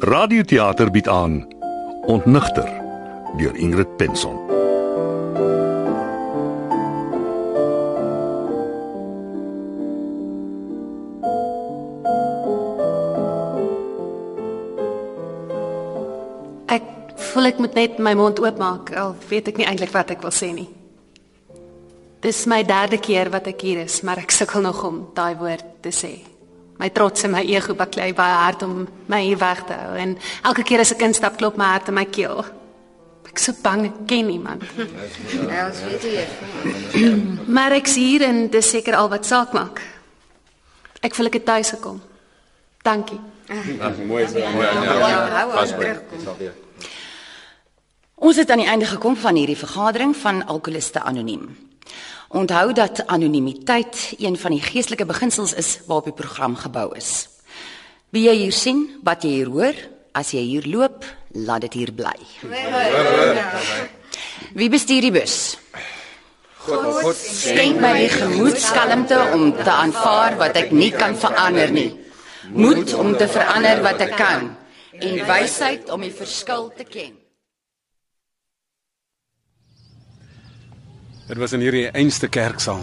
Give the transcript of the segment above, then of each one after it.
Radioteater bied aan Ontnigter deur Ingrid Penson. Ek voel ek moet net my mond oopmaak al weet ek nie eintlik wat ek wil sê nie. Dis my derde keer wat ek hier is, maar ek sukkel nog om daai woord te sê. My trots en my ego baklei baie hard om my hier weg te hou en elke keer as ek instap klop my hart in my keel. Ek's so bang ek ken niemand. Ja, ons weet jy. Maar ek's hier en dis seker al wat saak maak. Ek voel ek het tuis gekom. Dankie. Hou aan terugkom. Ons het aan die einde gekom van hierdie vergadering van alkoholiste anoniem. Onthou dat anonimiteit een van die geestelike beginsels is waarop die program gebou is. Wie jy hier sien, wat jy hier hoor, as jy hier loop, laat dit hier bly. Wie bestuur die bus? God, God skenk my die gemoedskalmte om te aanvaar wat ek nie kan verander nie. Moed om te verander wat ek kan en wysheid om die verskil te ken. Dit was in hierdie einste kerksaal.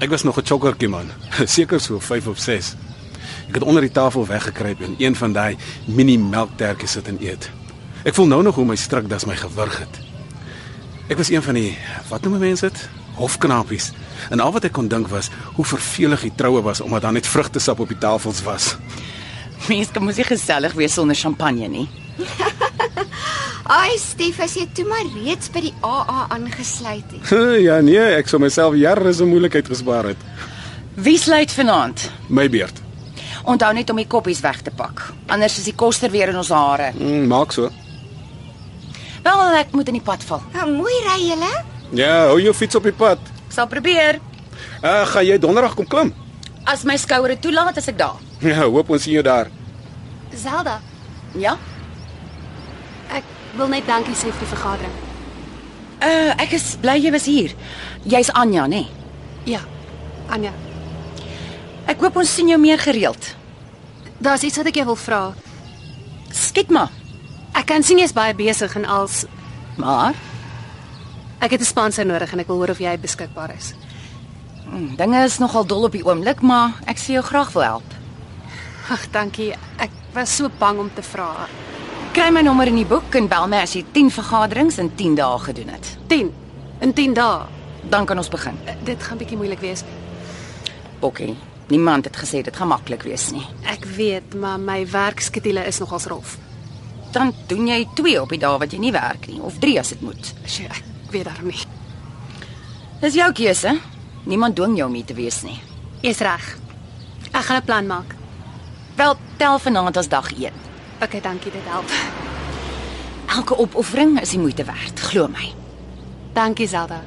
Ek was nog 'n chokkertjie man, seker so 5 of 6. Ek het onder die tafel weggekruip en een van daai mini melktertjies sit en eet. Ek voel nou nog hoe my strikdas my gewurg het. Ek was een van die wat noem mense dit? Hofknapies. En al wat ek kon dink was hoe vervelig die troue was omdat daar net vrugtesap op die tafels was. Mense kan mos nie gesellig wees sonder champagne nie. Ai, Stef, as jy toe maar reeds by die AA aangesluit het. ja nee, ek sou myself jare se moeilikheid gespaar het. Wie sluit vanaand? My beurt. Onthou net om die koppies weg te pak. Anders is die koster weer in ons hare. Mm, maak so. Wel, ek moet in die pad val. Nou, mooi ry julle. Ja, hou jou fiets op die pad. Ek sal probeer. Uh, gaan jy donderdag kom klim? As my skouere toelaat, is ek daar. Ja, hoop ons sien jou daar. Zelda, Ja? ek wil net dankie sê vir die vergadering. Uh, ek is bly jy was hier. Jy's Anja, nê? Nee? Ja. Anja, Ek hoop ons sien jou meer gereeld. daar's iets wat ek jou wil vra. Skiet maar. Ek kan sien jy's baie besig en als Maar ek het 'n sponsor nodig en ek wil hoor of jy beskikbaar is. mm, dinge is nogal dol op die oomblik, maar ek sien jou graag wil help. Ag, dankie. Ek was so bang om te vra. Kry my nommer in die boek en bel my as jy 10 vergaderings in 10 dae gedoen het. 10 in 10 dae. Dan kan ons begin. Eh, Dit gaan bietjie moeilik wees. Bokkie, niemand het gesê dit gaan maklik wees nie. Ek weet, maar my werkskedule is nogals rof. dan doen jy 2 op die dae wat jy nie werk nie of 3 as dit moet. Sjoe, ek weet daarom nie. Dis jou keuse. Niemand dwing jou om hier te wees nie. Jy's reg. Ek gaan 'n plan maak. Wel, tel vanaand as dag 1. Okay, dankie, dit help. Elke opoffering is die moeite werd, glo my. Dankie Zelda.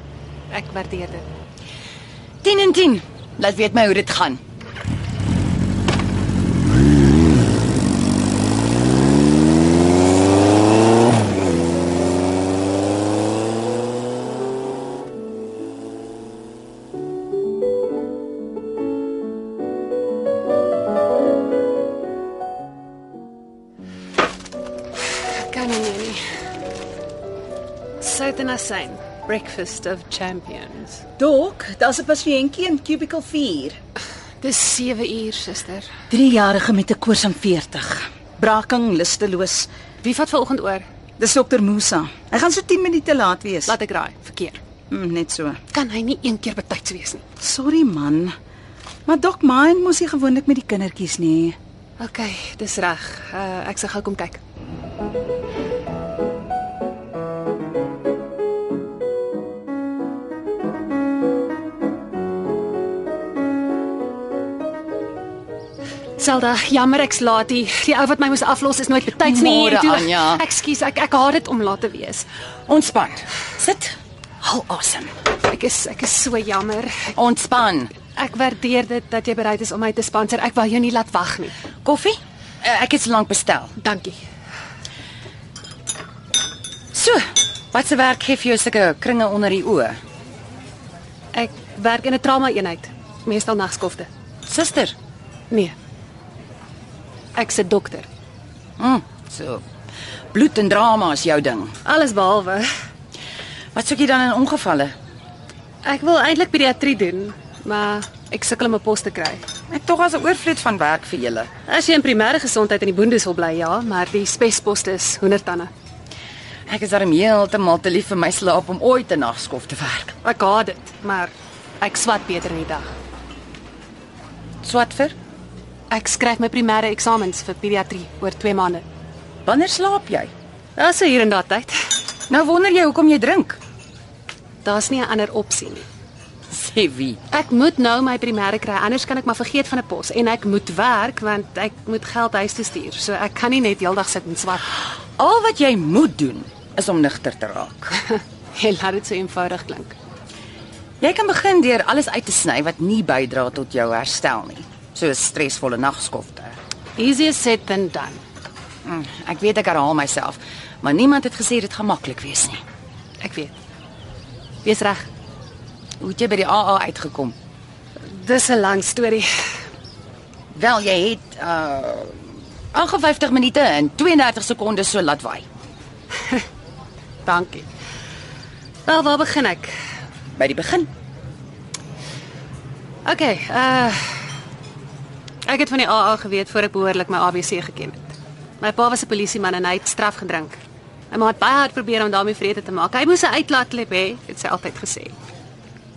Ek waardeer dit. 10 en 10. Laat weet my hoe dit gaan. Ek kan nie meer nie. Sout en asyn. Breakfast of Champions. Dok, daar's 'n pasiëntjie in cubicle 4. Dis 7 uur, suster. 3-jarige met 'n koors van 40. Braking, lusteloos. Wie vat vanoggend oor? Dis dokter Musa. Hy gaan so 10 minute laat wees. Laat ek raai, verkeer. mm, net so. Kan hy nie een keer betyds wees nie? Sorry man. Maar dok Mine mos nie gewoonlik met die kindertjies nie. OK, dis reg. Uh, ek sal gou kom kyk. Selda, jammer ek's laat hier. Die ou wat my moes aflos is nooit betyds nie. Môre, en toe- Anja. Ekskuus, ek ek haat dit om laat te wees. Ontspan. Sit. Hou asem. Ek is ek is so jammer. Ek, Ontspan. ek waardeer dit dat jy bereid is om my te sponsor. Ek wou jou nie laat wag nie. Koffie? Uh, ek het so lank bestel. Dankie. So, wat se werk gee vir jou sulke kringe onder die oë? Ek werk in 'n trauma eenheid, meestal nagskofte. Suster, Nee. Ek's 'n dokter. mm, So. Bloed en drama is jou ding. Alles behalwe. Wat soek jy dan in ongevalle? Ek wil eintlik pediatrie doen, maar ek sukkel om 'n pos te kry. Ek tog as 'n oorvloed van werk vir julle. As jy in primêre gesondheid in die boondes wil bly, ja, maar die spesposte is hoendertande. Ek is darem heeltemal te lief vir my slaap om ooit 'n nagskof te werk. Ek haat dit, maar ek swat beter in die dag. Swat vir? Ek skryf my primêre eksamens vir pediatrie oor 2 maande. Wanneer slaap jy? Daar's hier en daar tyd. Nou wonder jy hoekom jy drink. Daar's nie 'n ander opsie nie. Sê wie? Ek moet nou my primêre kry, anders kan ek maar vergeet van 'n pos en ek moet werk want ek moet geld huis toe stuur. So ek kan nie net heeldag sit en swat. Al wat jy moet doen is om nigter te raak. Jy laat dit so eenvoudig klink. Jy kan begin deur alles uit te sny wat nie bydra tot jou herstel nie, soos stresvolle nagskofte. Easier said than done. Mm, Ek weet ek herhaal myself, maar niemand het gesê dit gaan maklik wees nie. Ek weet. Wees reg. Hoe het jy by die AA uitgekom? Dis 'n lang storie. Wel, jy het uh 58 minute en 32 sekondes so laat waai Dankie. Wel, waar begin ek? by die begin. OK, uh Ek het van die AA geweet voor ek behoorlik my ABC geken het. My pa was 'n polisieman en hy het straf gedrink. My ma het baie hard probeer om daarmee vrede te maak. Hy moes 'n uitlaatklep hê, het sy altyd gesê.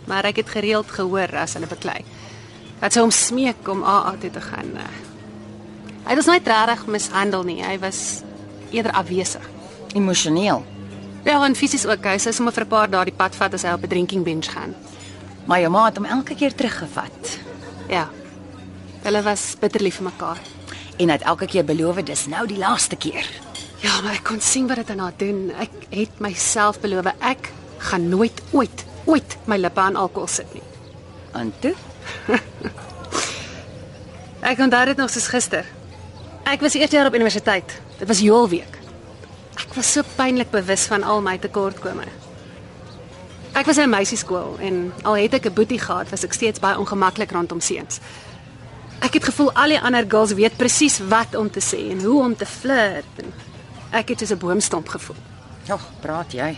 Maar ek het gereeld gehoor as hulle beklei. Dat sy hom smeek om AA toe te gaan. Uh, Hy was nooit regtig mishandel nie. Hy was eerder afwesig. Emosioneel. Ja, en fisies ook. Hy sou sommer vir 'n paar dae die pad vat as hy op 'n drinking bench gaan. Maar jou ma het hom elke keer teruggevat Ja. Hulle was bitter lief vir mekaar. en het elke keer beloof dis nou die laaste keer. Ja, maar ek kon sien wat dit aan haar doen. Ek het myself beloof ek gaan nooit ooit ooit my lippe aan alkohol sit nie. En toe, Ek onthou dit nog soos gister. Ek was eers jaar op universiteit. Dit was Joelweek. Ek was so pynlik bewus van al my tekortkominge. Ek was in 'n meisieskool en al het ek 'n boetie gehad, was ek steeds baie ongemaklik rondom seuns. Ek het gevoel al die ander girls weet presies wat om te sê en hoe om te flirt. en Ek het soos 'n boomstomp gevoel. ja, praat jy.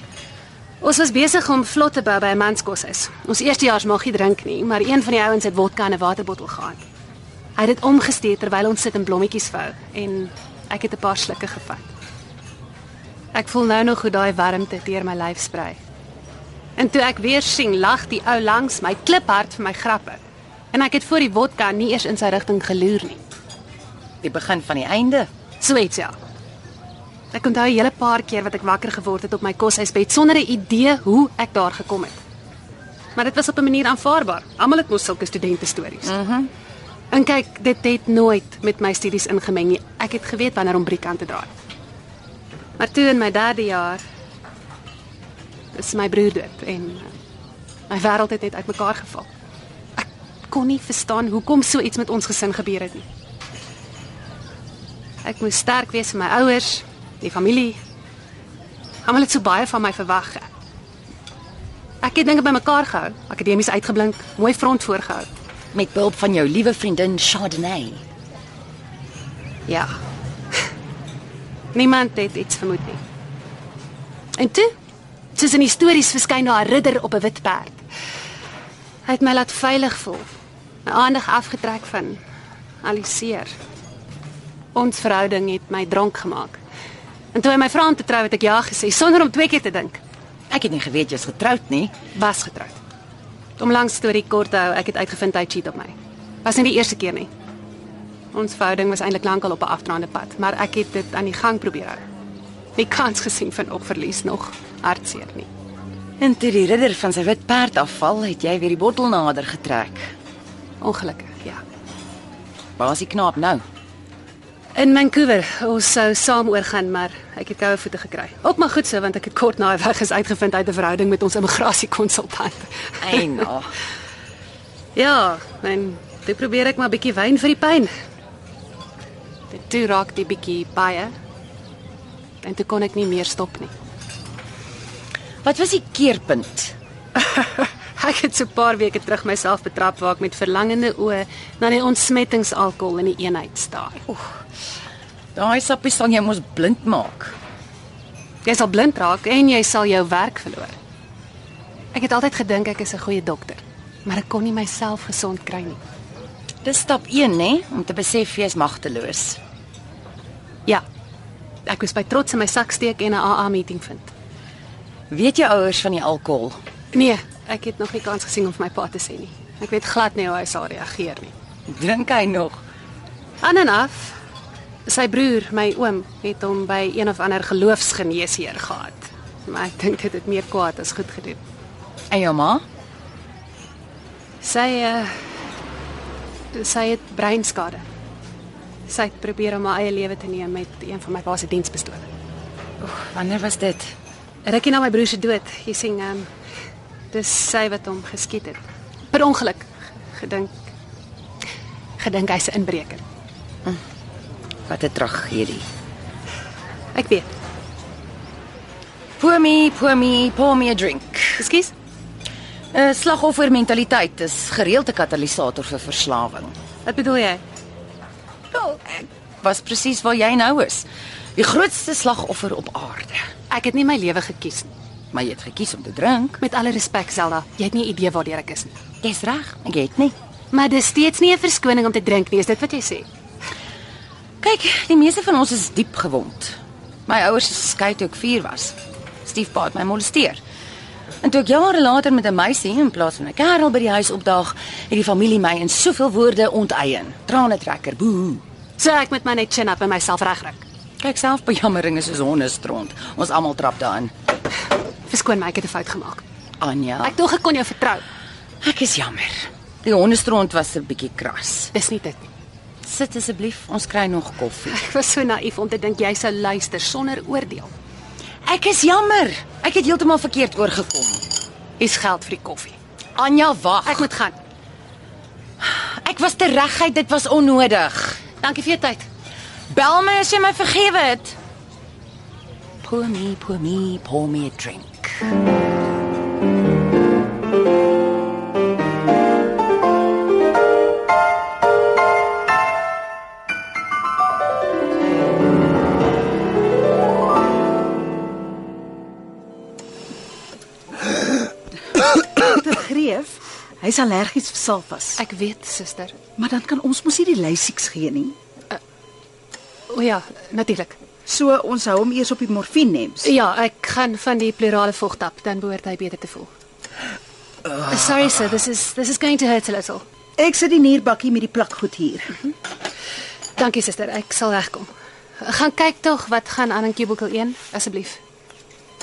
Ons was besig om vlot te bou by 'n manskoshuis. Ons eerstejaars mag nie drink nie, maar een van die ouens het vodka in 'n waterbottel gehad. Hy het dit omgestuur terwyl ons sit en blommetjies vou en ek het 'n paar slukke gevat. Ek voel nou nog hoe daai warmte deur my lyf sprei. En toe ek weer sien, lag die ou langs my kliphard vir my grappe. En ek het voor die vodka nie eers in sy rigting geloer nie. Die begin van die einde. So iets ja. Ek onthou 'n hele paar keer wat ek wakker geword het op my koshuisbed sonder 'n idee hoe ek daar gekom het. Maar dit was op 'n manier aanvaarbaar. Almal het mos sulke studente stories. Mhm. Mm en kyk, dit het nooit met my studies ingemeng nie. Ek het geweet wanneer om briek aan te draai. Maar toe in my derde jaar is my broer dood en uh, my wêreld het net uitmekaar geval. Ek kon nie verstaan hoekom so iets met ons gesin gebeur het nie. Ek moes sterk wees vir my ouers, die familie. Almal het so baie van my verwag. Ek het dinge bymekaar gehou, akademies uitgeblink, mooi front voorgehou. met behulp van jou liewe vriendin Chardonnay. Ja. Niemand het iets vermoed nie. En toe, soos in histories verskyn daar 'n ridder op 'n wit perd. Hy het my laat veilig voel. My aandag afgetrek van al die seer. Ons verhouding het my dronk gemaak. En toe hy my vra om te trou, het ek ja gesê sonder om twee keer te dink. Ek het nie geweet jy's getroud nie. Was getroud. Om lank storie kort te hou, ek het uitgevind hy cheat op my. Was nie die eerste keer nie. Ons verhouding was eintlik lankal op 'n afdraande pad, maar ek het dit aan die gang probeer hou. Nie kans gesien van opverlies nog hartseer nie. En toe die ridder van sy wit perd afval, het jy weer die bottel nader getrek. Ongelukkig, ja. Waar is die knaap nou? In Vancouver, ons sou saam oorgaan, maar ek het koue voete gekry. Ook maar goed so want ek het kort na hy weg is uitgevind uit 'n verhouding met ons immigrasiekonsultant. Eina. Ja, en toe probeer ek maar 'n bietjie wyn vir die pyn. Dit toe raak die bietjie baie. En toe kon ek nie meer stop nie. Wat was die keerpunt? Ek het so 'n paar weke terug myself betrap waar ek met verlangende oë na die ontsmettingsalkohol in die eenheid staar. Daai sappies sal jou mos blind maak. Jy sal blind raak en jy sal jou werk verloor. Ek het altyd gedink ek is 'n goeie dokter, maar ek kon nie myself gesond kry nie. Dis stap 1, nê, om te besef jy's magteloos. Ja. Ek was by trots in my sak steek en 'n AA meeting vind. Weet jou ouers van die alkohol? Nee, ek het nog nie kans gesien om vir my pa te sê nie. Ek weet glad nie hoe hy sal reageer nie. Drink hy nog? Aan en af. Sy broer, my oom, het hom by een of ander geloofsgeneesheer gehad. Maar ek dink dit het meer kwaad as goed gedoen. En jou ma? Sy uh sy het breinskade. Sy het probeer om haar eie lewe te neem met een van my pa se dienspistole. Wanneer was dit? Rikkie na my broer se dood, jy sien, ehm um, dis sy wat hom geskiet het. Per ongeluk gedink gedink hy's 'n inbreker. Wat 'n tragedie. Ek weet. Pour me, pour me, pour me a drink. Ekskuus. 'n Slagoffermentaliteit is gereelde katalisator vir verslawing. Wat bedoel jy? Wel, ek was presies waar jy nou is. Die grootste slagoffer op aarde. Ek het nie my lewe gekies nie. Maar jy het gekies om te drink. Met alle respek, Zelda, jy het nie idee waartoe ek is nie. Dis reg, ek het nie. Maar dis steeds nie 'n verskoning om te drink nie, is dit wat jy sê? Kyk, die meeste van ons is diep gewond. My ouers is geskei toe ek 4 was. Stiefpa het my molesteer. En toe ek jare later met 'n meisie in plaas van 'n kerel by die huis opdaag, het die familie my in soveel woorde onteien. Tranetrekker, boehoe. So ek moet my net chin up en myself regryk. Kyk self bejammering is soos honde stront. Ons almal trap daarin. Verskoon my, ek het 'n fout gemaak. Anja, Ek dink ek kon jou vertrou. ek is jammer. Die honde stront was 'n bietjie kras. Dis nie dit nie. Sit asseblief, ons kry nog koffie. Ek was so naïef om te dink jy sou luister sonder oordeel. Ek is jammer. Ek het heeltemal verkeerd oorgekom. Hier's geld vir die koffie. Anja, wag. Ek moet gaan. ek was te reguit, dit was onnodig. Dankie vir jou tyd. Bel my as jy my vergewe het. Pour me, pour me, pour me a drink. Te greef. Hy's allergies vir salfas. Ek weet, suster. Maar dan kan ons mos nie die lysieks gee nie. O ja, natuurlik. So ons hou hom eers op die morfinems. Ja, ek gaan van die pleurale vocht tap, dan behoort hy beter te voel. Sorry sir, this is this is going to hurt a little. Ek sit die nierbakkie met die plakgoed hier. Dankie suster, ek sal regkom. Gaan kyk tog wat gaan aan in cubicle 1 asseblief.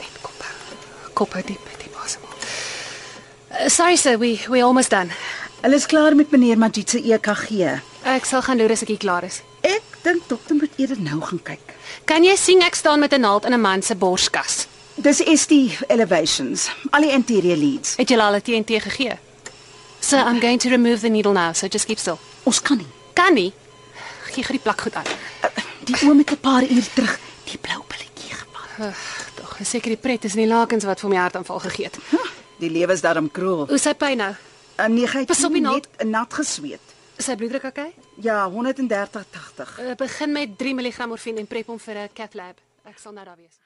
Net kop hou. Kop hou diep, diep asem. Uh, sorry sir, we we almost done. Hulle is klaar met meneer Majid se EKG. Ek sal gaan loer as ek hier klaar is. Ek dink dokter moet eerder nou gaan kyk. Kan jy sien ek staan met 'n naald in 'n man se borskas? Dis is die elevations, al die anterior leads. Het jy al 'n TNT gegee? Sir, I'm going to remove the needle now, so just keep still. Ons kan nie. Kan nie. Gee gou die plak goed aan. Die oom het 'n paar uur terug die blou pilletjie gevat. Ag, tog, is seker die pret is in die lakens wat vir my hartaanval gegee het. Die lewe is daarom kroel. Hoe sy pyn nou? En nee, hy Pas op die naald. nat gesweet. Is sy bloeddruk oukei? Ja, 130 80. Okay? Uh, begin met 3 mg morfine en prep hom vir 'n cath lab. Ek sal nou daar wees.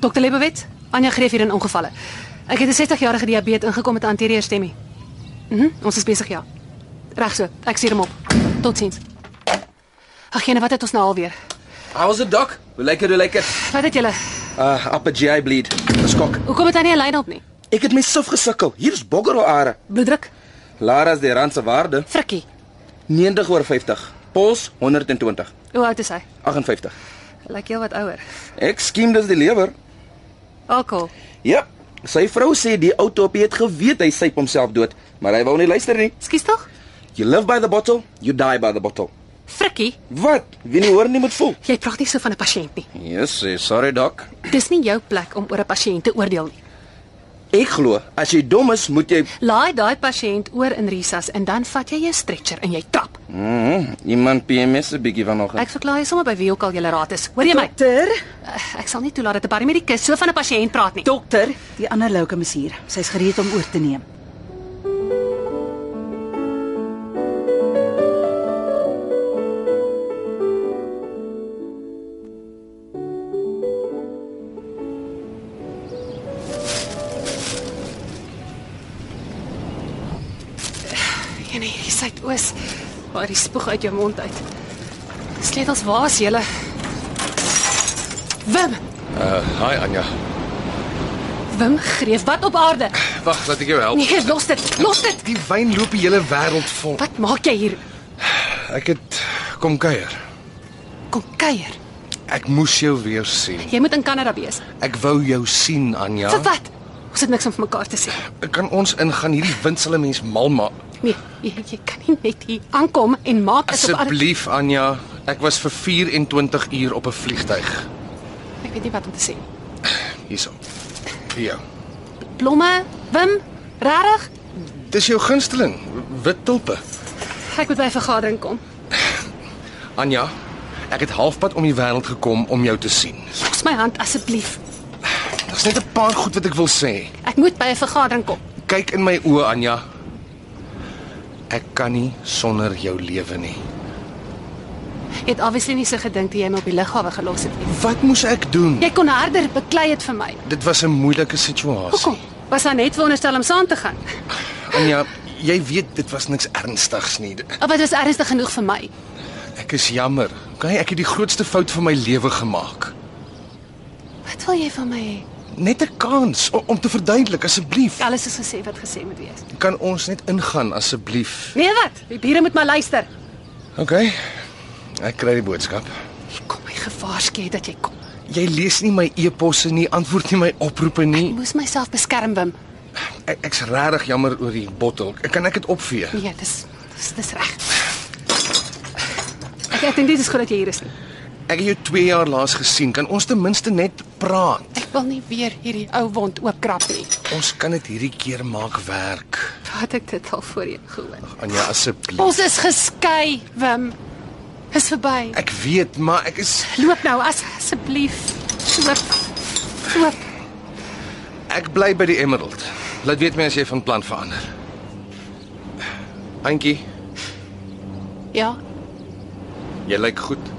Dokter Lebowitz, Anja Greef hier in ongevalle. Ek het 'n 60-jarige diabetes ingekom met 'n anterieur stemmie. Mhm, ons is besig ja. Reg so, ek stuur hom op. Totsiens. Ag, jene, wat het ons nou alweer? How's it, doc? Hoe lyk dit? Hoe lyk dit? Wat het julle? Uh, upper GI bleed. Dis kok. Hoekom het hy nie 'n lyn op nie? Ek het myself gesukkel. Hier's boggerare. Bloeddruk? Lara's die rand se waarde Frikkie. 90 oor 50. Puls 120. Hoe oud is hy? 58. Lyk heel wat ouer. Ek skiem dis die lewer. Alkohol. Ja. Sy vrou sê die outopie het geweet hy syp homself dood, maar hy wou nie luister nie. Skus tog? You live by the bottle, you die by the bottle. Frikkie, Wat? Wie nie hoor nie moet voel. jy praat nie so van 'n pasiënt nie. Yes, sorry doc. Dis nie jou plek om oor 'n pasiënt te oordeel nie. Ek glo as jy dom is, moet jy Laai daai pasiënt oor in Risas en dan vat jy jou stretcher en jy trap. mm, iemand PMS 'n bietjie vanoggend. Ek verklaar jy sommer by wie ook al jy raad is. Hoor jy my? Dokter, Eh, Ek sal nie toelaat dat 'n paramedikus so van 'n pasiënt praat nie. dokter, die ander louke is hier. Sy's gereed om oor te neem. En hier is uit oos. Waar die spoeg uit jou mond uit. Sleutels waar's julle? Wim, Uh, hi Anja. Wim greef wat op aarde. Wag, laat ek jou help. Nee, los dit. Los dit. Die wyn loop die hele wêreld vol. Wat maak jy hier? Ek het kom kuier. Kom kuier. Ek moes jou weer sien. Jy moet in Kanada wees. Ek wou jou sien Anja. Vir wat? Ons het niks om vir mekaar te sê. Kan ons ingaan hierdie windsele mens mal maak? Nee, jy, jy kan nie net hier aankom en maak asof alles- Asseblief Anja, ek was vir 24 uur op 'n vliegtyg. Ek weet nie wat om te sê nie. Hierso. Vir jou. Blomme, Wim, regtig? Dis jou gunsteling, wit tulpe. Ek moet by 'n vergadering kom. Anja, ek het halfpad om die wêreld gekom om jou te sien. Los my hand asseblief. Daar's net 'n paar goed wat ek wil sê. Ek moet by 'n vergadering kom. Kyk in my oë, Anja. Ek kan nie sonder jou lewe nie. Jy het obviously nie so gedink toe jy my op die lughawe gelos het nie. Wat moes ek doen? Jy kon harder beklei het vir my. Dit was 'n moeilike situasie. Hoekom? Was daar net wonderstel om saam te gaan? Anja, jy weet dit was niks ernstigs nie. D- Of dit was ernstig genoeg vir my. Ek is jammer. Okay, ek het die grootste fout van my lewe gemaak. Wat wil jy van my hê? Net 'n kans o- om te verduidelik asseblief. Alles is gesê wat gesê moet wees. Kan ons net ingaan asseblief? Nee wat? Die bure moet maar luister. Okay. Ek kry die boodskap. Jy kom my gewaarsku het dat jy kom. Jy lees nie my e-posse nie, antwoord nie my oproepe Ek nie. moes myself beskerm, Wim. Ek, ek's regtig jammer oor die bottel. Kan ek dit opvee? Nee, dis dis dis reg. Ek ek dink dit is goed dat jy hier is. nie. Ek het jou 2 jaar laas gesien. Kan ons ten minste net praat? Ek wil nie weer hierdie ou wond oopkrap nie. Ons kan dit hierdie keer maak werk. Wat ek dit al voorheen gehoor. Anja asseblief. Ons is geskei, Wim. Is verby. Ek weet, maar ek is Loop nou as asseblief. Loop. Loop. ek bly by die Emerald. Laat weet my as jy van plan verander. Antjie, Ja. jy lyk goed.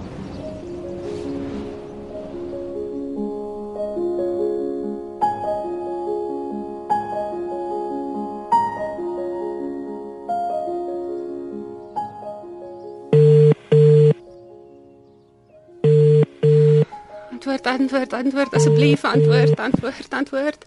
Antwoord, antwoord, antwoord asseblief, antwoord, antwoord, antwoord.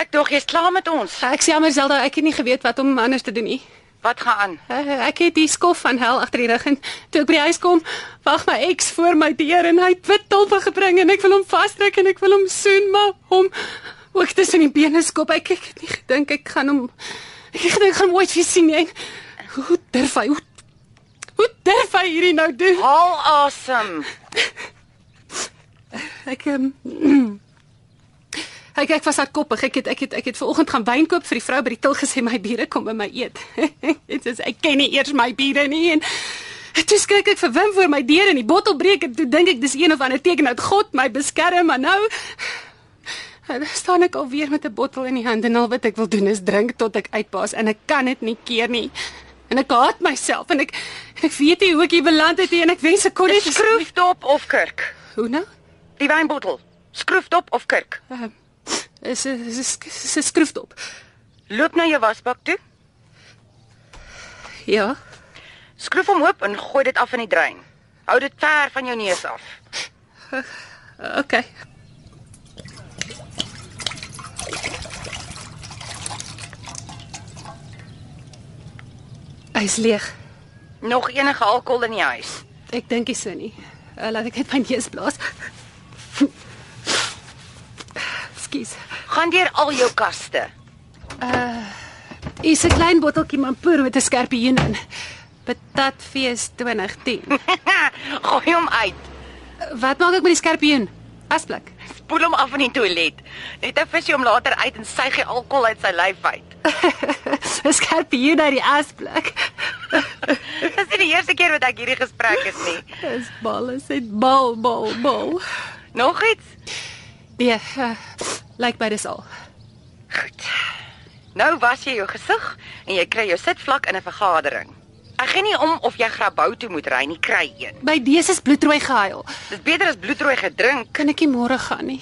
Ek dog jy's klaar met ons. Ek sê jammer Zelda, ek het nie geweet wat om anders te doen nie. Wat gaan aan? Uh, ek het die skof van hel agter die rug en toe ek by die huis kom, wag my ex voor my deur en hy het wit tulpe gebring en ek wil hom vasdruk en ek wil hom soen, maar hom ook tussen die bene skop. Ek, ek het nie gedink ek gaan hom ek het gedink ek gaan hom ooit weer sien nie. En Hoe durf hy? Hoe Hoe durf hy hierdie nou doen? Haal asem. Ek um, Ek ek was hardkoppig. Ek het ek het ek het vanoggend gaan wyn koop vir die vrou by die til gesê my bure kom by my eet. Dit is ek ken nie eers my bure nie en toe skrik ek vir Wim voor my deur en die bottel breek en toe dink ek dis een of ander teken dat God my beskerm, maar nou en daar staan ek alweer met 'n bottel in die hand en al wat ek wil doen is drink tot ek uitpaas en ek kan dit nie keer nie. En ek haat myself en ek en ek weet nie hoe ek hier beland het nie en ek wens ek kon net Skroefdop of kurk? Hoe nou? Die wynbottel. Skroefdop of kurk? Ehm, is is is- is 'n skroefdop. Loop na jou wasbak toe. Ja. Skroef hom oop en gooi dit af in die drein. Hou dit ver van jou neus af. Okay. Hy's leeg. Nog enige alkohol in die huis? Ek dink nie so nie. Uh, laat ek net my neus blaas. Skus. Gaan deur al jou kaste. Hier's 'n klein botteltjie Mampoer met 'n skerpioen in. Patatfees 2010. gooi hom uit. Wat maak ek met die skerpioen? Asblik. spoel hom af in die toilet. Net 'n visie om later uit en suig die alkohol uit sy lyf uit. 'n Skerp hier na die asblik. Dis nie die eerste keer wat ek hierdie gesprek het nie. Dis balle, sê bal, bal, bal. Nog iets? Nee, uh, lyk by dis al. Goed. Nou was jy jou gesig en jy kry jou sitvlak in 'n vergadering. Ek gee nie om of jy grabou toe moet ry nie, kry een. By dese is bloedrooi gehuil. Dis beter as bloedrooi gedrink. Kan ek nie môre gaan nie.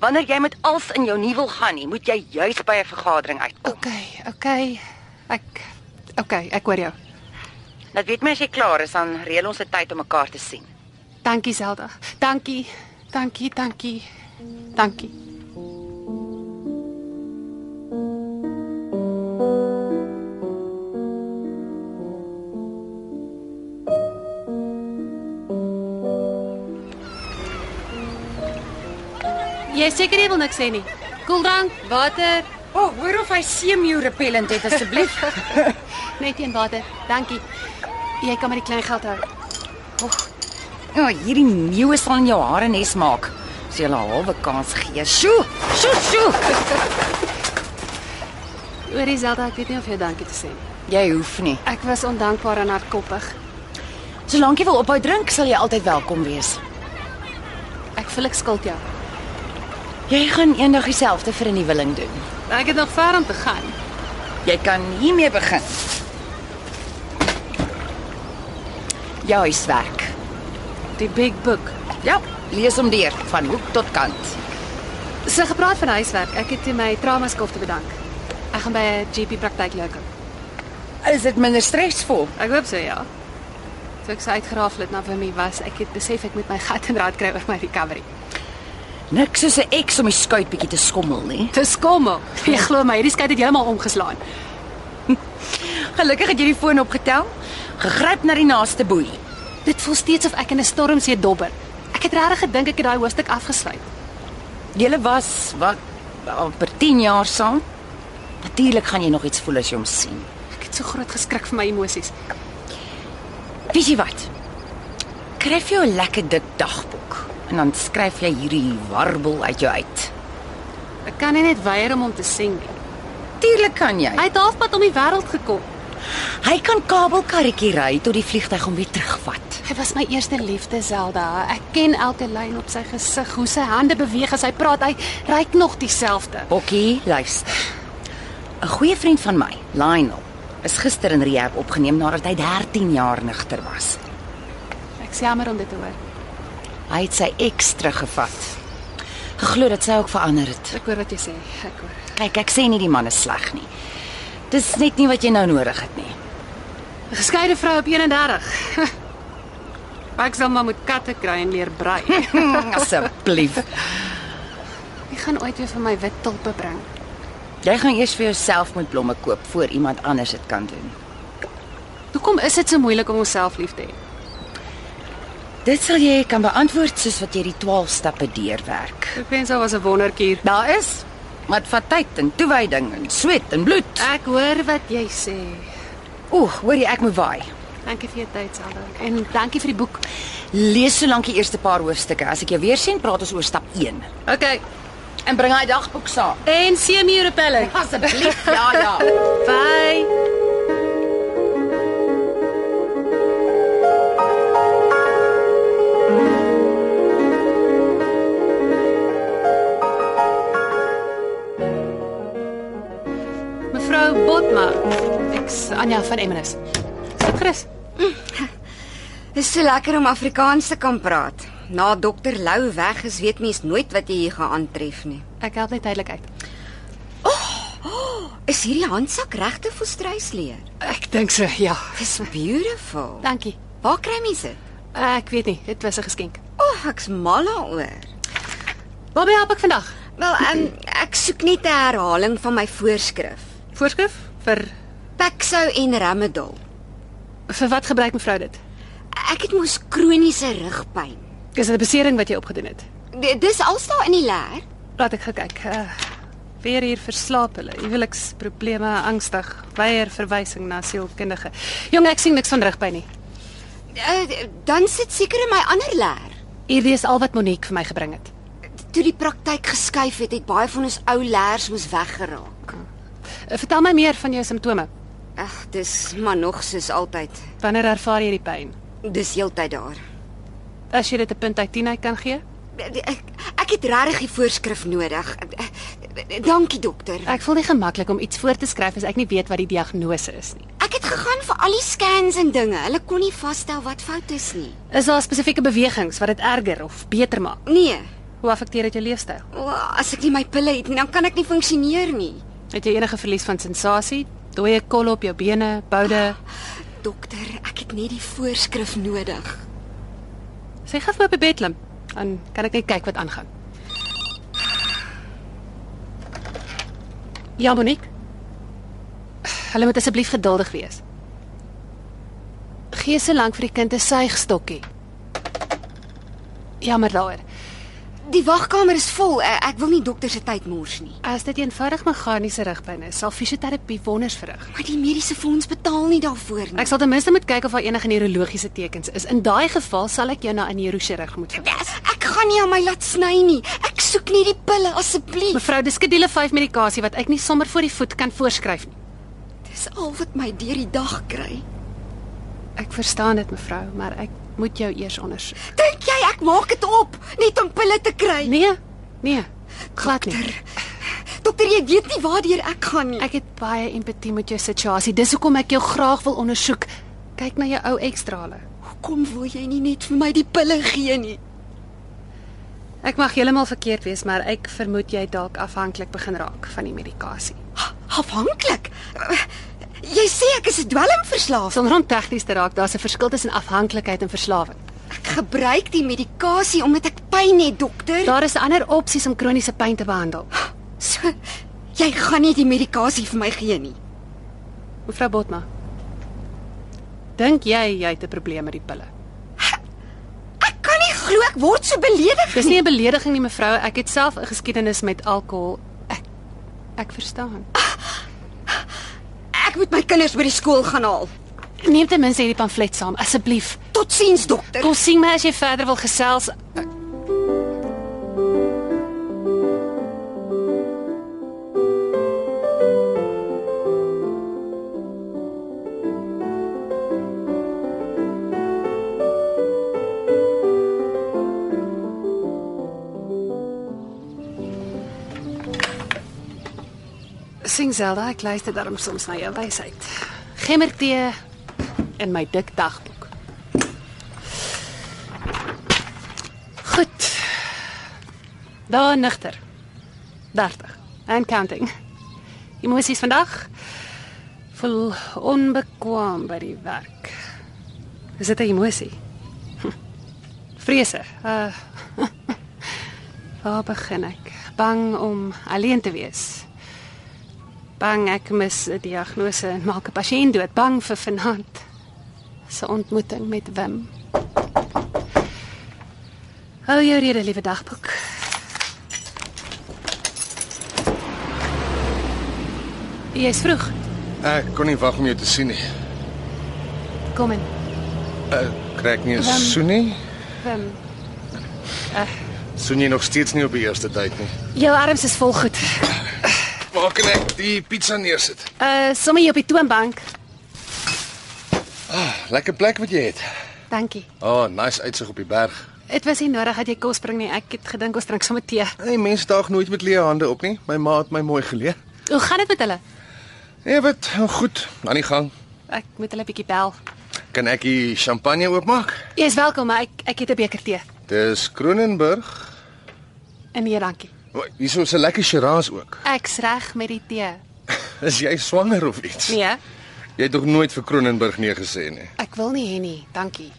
Wanneer jy met als in jou nie wil gaan nie, moet jy juis by 'n vergadering uitkom. OK, OK. Ek OK, ek hoor jou. Laat weet my as jy klaar is, dan reël ons 'n tyd om mekaar te sien. Dankie Zelda. Dankie. Dankie, dankie. Dankie. Jy is seker jy wil niks sê nie. Koeldrank, water, O, oh, hoor of hy seemuur repellent het asseblief. net een water. Dankie. Jy kan met die klein geld hou. Ja, hierdie meeu sal in jou hare nes maak. As jy hulle 'n halwe kans gee. Sjoe, sjoe, sjoe. Oor Zelda, ek weet nie of jy dankie te sê nie. Jy hoef nie. Ek was ondankbaar en hardkoppig. Solank jy wil ophou drink, sal jy altyd welkom wees. Ek voel ek skuld jou. Jy gaan eendag dieselfde vir 'n nuweling doen. Ek het nog ver om te gaan. Jy kan hiermee begin. Jou huiswerk. Die big book. Ja, lees hom deur van hoek tot kant. Sy het gepraat van huiswerk. Ek het toe my trauma skof te bedank. Ek gaan by 'n GP praktyk loop. Is dit minder stresvol? Ek hoop so ja. Toe ek sy uitgeraaf het na vir my was, ek het besef ek moet my gat en raad kry oor my recovery. Niks soos 'n eks om die skuit bietjie te skommel nie. Dis kom. Jy glo my, hierdie skei het heeltemal omgeslaan. Gelukkig het jy die foon opgetel. Gegryp na die naaste boei. Dit voel steeds of ek in 'n stormsee dobber. Ek het regtig gedink ek het daai hoofstuk afgesluit. Julle was wat amper 10 jaar saam. Natuurlik gaan jy nog iets voel as jy hom sien. Ek het so groot geskrik vir my emosies. Weet jy wat? Kry vir jou 'n lekker dik dagboek en dan skryf jy hierdie warbel uit jou uit. Ek kan nie net weier om hom te sien nie. Natuurlik kan jy. Hy het halfpad om die wêreld gekom. Hy kan kabelkarretjie ry tot die vliegtyg hom weer terugvat. Hy was my eerste liefde, Zelda. Ek ken elke lyn op sy gesig, hoe sy hande beweeg as hy praat. Hy ryk nog dieselfde. Bokkie, luister. 'n Goeie vriend van my, Lionel, is gister in rehab opgeneem nadat hy 13 jaar nigter was. Ek is jammer om dit te hoor. Hy het sy eks teruggevat. Geglo dat sy ook verander het. Ek hoor wat jy sê. Ek hoor. Kyk, ek sê nie die man is sleg nie. Dis net nie wat jy nou nodig het nie. 'n Geskeide vrou op 31. Ek sal maar met katte kry en leer brei. Hmm, Asseblief. Jy gaan ooit weer vir my wit tulpe bring. Jy gaan eers vir jouself moet blomme koop voor iemand anders dit kan doen. Hoekom is dit so moeilik om onsself lief te hê? Dit sal jy kan beantwoord soos wat jy die 12 stappe deurwerk. Ek wens daar was 'n wonderkuur. Daar is maar dit vat tyd en toewyding en sweet en bloed. Ek hoor wat jy sê. Oeg, hoor jy ek moet waai. Dankie vir jou tyd, Zelda. En dankie vir die boek. Lees solank die eerste paar hoofstukke. As ek jou weer sien, praat ons oor stap 1 OK. en bring hy dagboek saam. En seemuur repellent. Asseblief, ja ja. Bye. Mevrou Botma, ek's Anja van Emmenis. Sit gerus. Dis so lekker om Afrikaans te kan praat. Na dokter Lou weg is, weet mens nooit wat jy hier gaan aantref nie. Ek help net tydelik uit. Is hierdie handsak regte volstruisleer? Ek dink so, ja. Dis beautiful. Dankie. Waar kry mens dit? Ek weet nie, dit was 'n geskenk. O, oh, ek's mal daaroor. Waarby help ek vandag? Wel, um, ek soek net 'n herhaling van my voorskrif. Voorskrif vir Paxo en Tramadol. vir wat gebruik mevrou dit? Ek het mos kroniese rugpyn. Is dit 'n besering wat jy opgedoen het? D- Dis alsta in die leer. Laat ek kyk. Uh, weer hier verslaap hulle. Huweliksprobleme, angstig, weier verwysing na sielkundige. Jong, ek sien niks van rugpyn nie. Uh, Eh, dan sit seker in my ander leer. Hierdie is al wat Monique vir my gebring het. toe die praktyk geskuif het, het baie van ons ou leers moes weggeraak. Eh, Vertel my meer van jou simptome. Ag, dis maar nog soos altyd. Wanneer ervaar jy die pyn? Dis heeltyd daar. As jy dit 'n punt uit 10 uit kan gee? Ek, ek het regtig die voorskrif nodig. Dankie dokter. Ek voel nie gemaklik om iets voor te skryf as ek nie weet wat die diagnose is nie. Ek het gegaan vir al die scans en dinge. Hulle kon nie vasstel wat fout is nie. Is daar spesifieke bewegings wat dit erger of beter maak? Nee, Hoe afekteer dit jou leefstyl? o, as ek nie my pille het nie, dan kan ek nie funksioneer nie. Het jy enige verlies van sensasie? Dooie kolle op jou bene, boude? Dokter, ek het net die voorskrif nodig. Sy gaan vir my op die bed klim. Dan kan ek net kyk wat aangaan. Ja, Monique. Hulle moet asseblief geduldig wees. Gee se lank vir die kind 'n suigstokkie. Jammer daaroor. Die wagkamer is vol. Ek, ek wil nie dokter se tyd mors nie. As dit eenvoudig meganiese rugpyn is, sal fisioterapie wonders verrig. Maar die mediese fonds betaal nie daarvoor nie. Ek sal ten minste moet kyk of daar enige neurologiese tekens is. In daai geval sal ek jou na 'n neurochirurg moet verwys. Ek, ek gaan nie aan my laat sny nie. Ek soek nie die pille asseblief. Mevrou, dis skedule 5 medikasie wat ek nie sommer voor die voet kan voorskryf nie. Dis al wat my deur die dag kry. Ek verstaan dit mevrou, maar ek moet jou eers ondersoek. Dink jy ek maak dit op net om pille te kry? Nee. Nee. Glad nie. Dokter, jy weet nie waartoe ek gaan nie. Ek het baie empatie met jou situasie. Dis hoekom ek jou graag wil ondersoek. Kyk na jou ou ekstrale. Kom wil jy nie net vir my die pille gee nie? Ek mag heeltemal verkeerd wees, maar ek vermoed jy het dalk afhanklik begin raak van die medikasie. Ha, afhanklik. Jy sê ek is 'n dwelmverslaaf. Sonder om tegnies te raak, daar's 'n verskil tussen afhanklikheid en verslawing. Ek gebruik die medikasie omdat ek pyn het, dokter. Daar is ander opsies om kroniese pyn te behandel. So, jy gaan nie die medikasie vir my gee nie. Mevrou Botma. Dink jy jy het 'n probleem met die pille? Ek kan nie glo ek word so beledig Dis nie. nie 'n belediging nie mevrou, ek het self 'n geskiedenis met alkohol. Ek ek verstaan. Ek moet my kinders by die skool gaan haal. Neem ten minste hierdie pamflet saam asseblief. Totsiens, dokter. Kom sien my as jy verder wil gesels. Sien Zelda, ek luister daarom soms na jou wysheid. Gemmertee in my dik dagboek. Goed. Daar nigter. 30 and counting. Emosies vandag voel onbekwaam by die werk. Is dit 'n emosie? Hm. Vrese. Uh Waar begin ek? Bang om alleen te wees. Bang ek mis 'n diagnose en maak 'n pasiënt dood. Bang vir vanaand se ontmoeting met Wim. Hou jou rede, liewe dagboek. Jy's vroeg. Ek kon nie wag om jou te sien nie. Kom in. Eh, Kry ek nie 'n Ehm. soen nie? Wim, Soen jy nog steeds nie op die eerste date nie. jou arms is vol goed. Waar kan ek die pizza neersit? Uh sommer hier op die toonbank. Lekker plek wat jy het. Dankie. O, oh, nice uitsig op die berg. Dit was nie nodig dat jy kos bring nie. Ek het gedink ons drink sommer tee. Hey, mense daag nooit met leë hande op nie. My ma het my mooi geleer. Hoe gaan dit met hulle? Nee, wat goed. Aan die gang. Ek moet hulle bietjie bel. Kan ek die champagne oopmaak? Jy's welkom, maar ek ek het 'n beker tee. Dis Kronenburg. En nee, dankie. O, Hierso is 'n lekker Shiraz ook. Ek's reg met die tee. Is jy swanger of iets? Nee, Jy het nog nooit vir Kronenburg nee gesê nie. ek wil nie hê nie, dankie.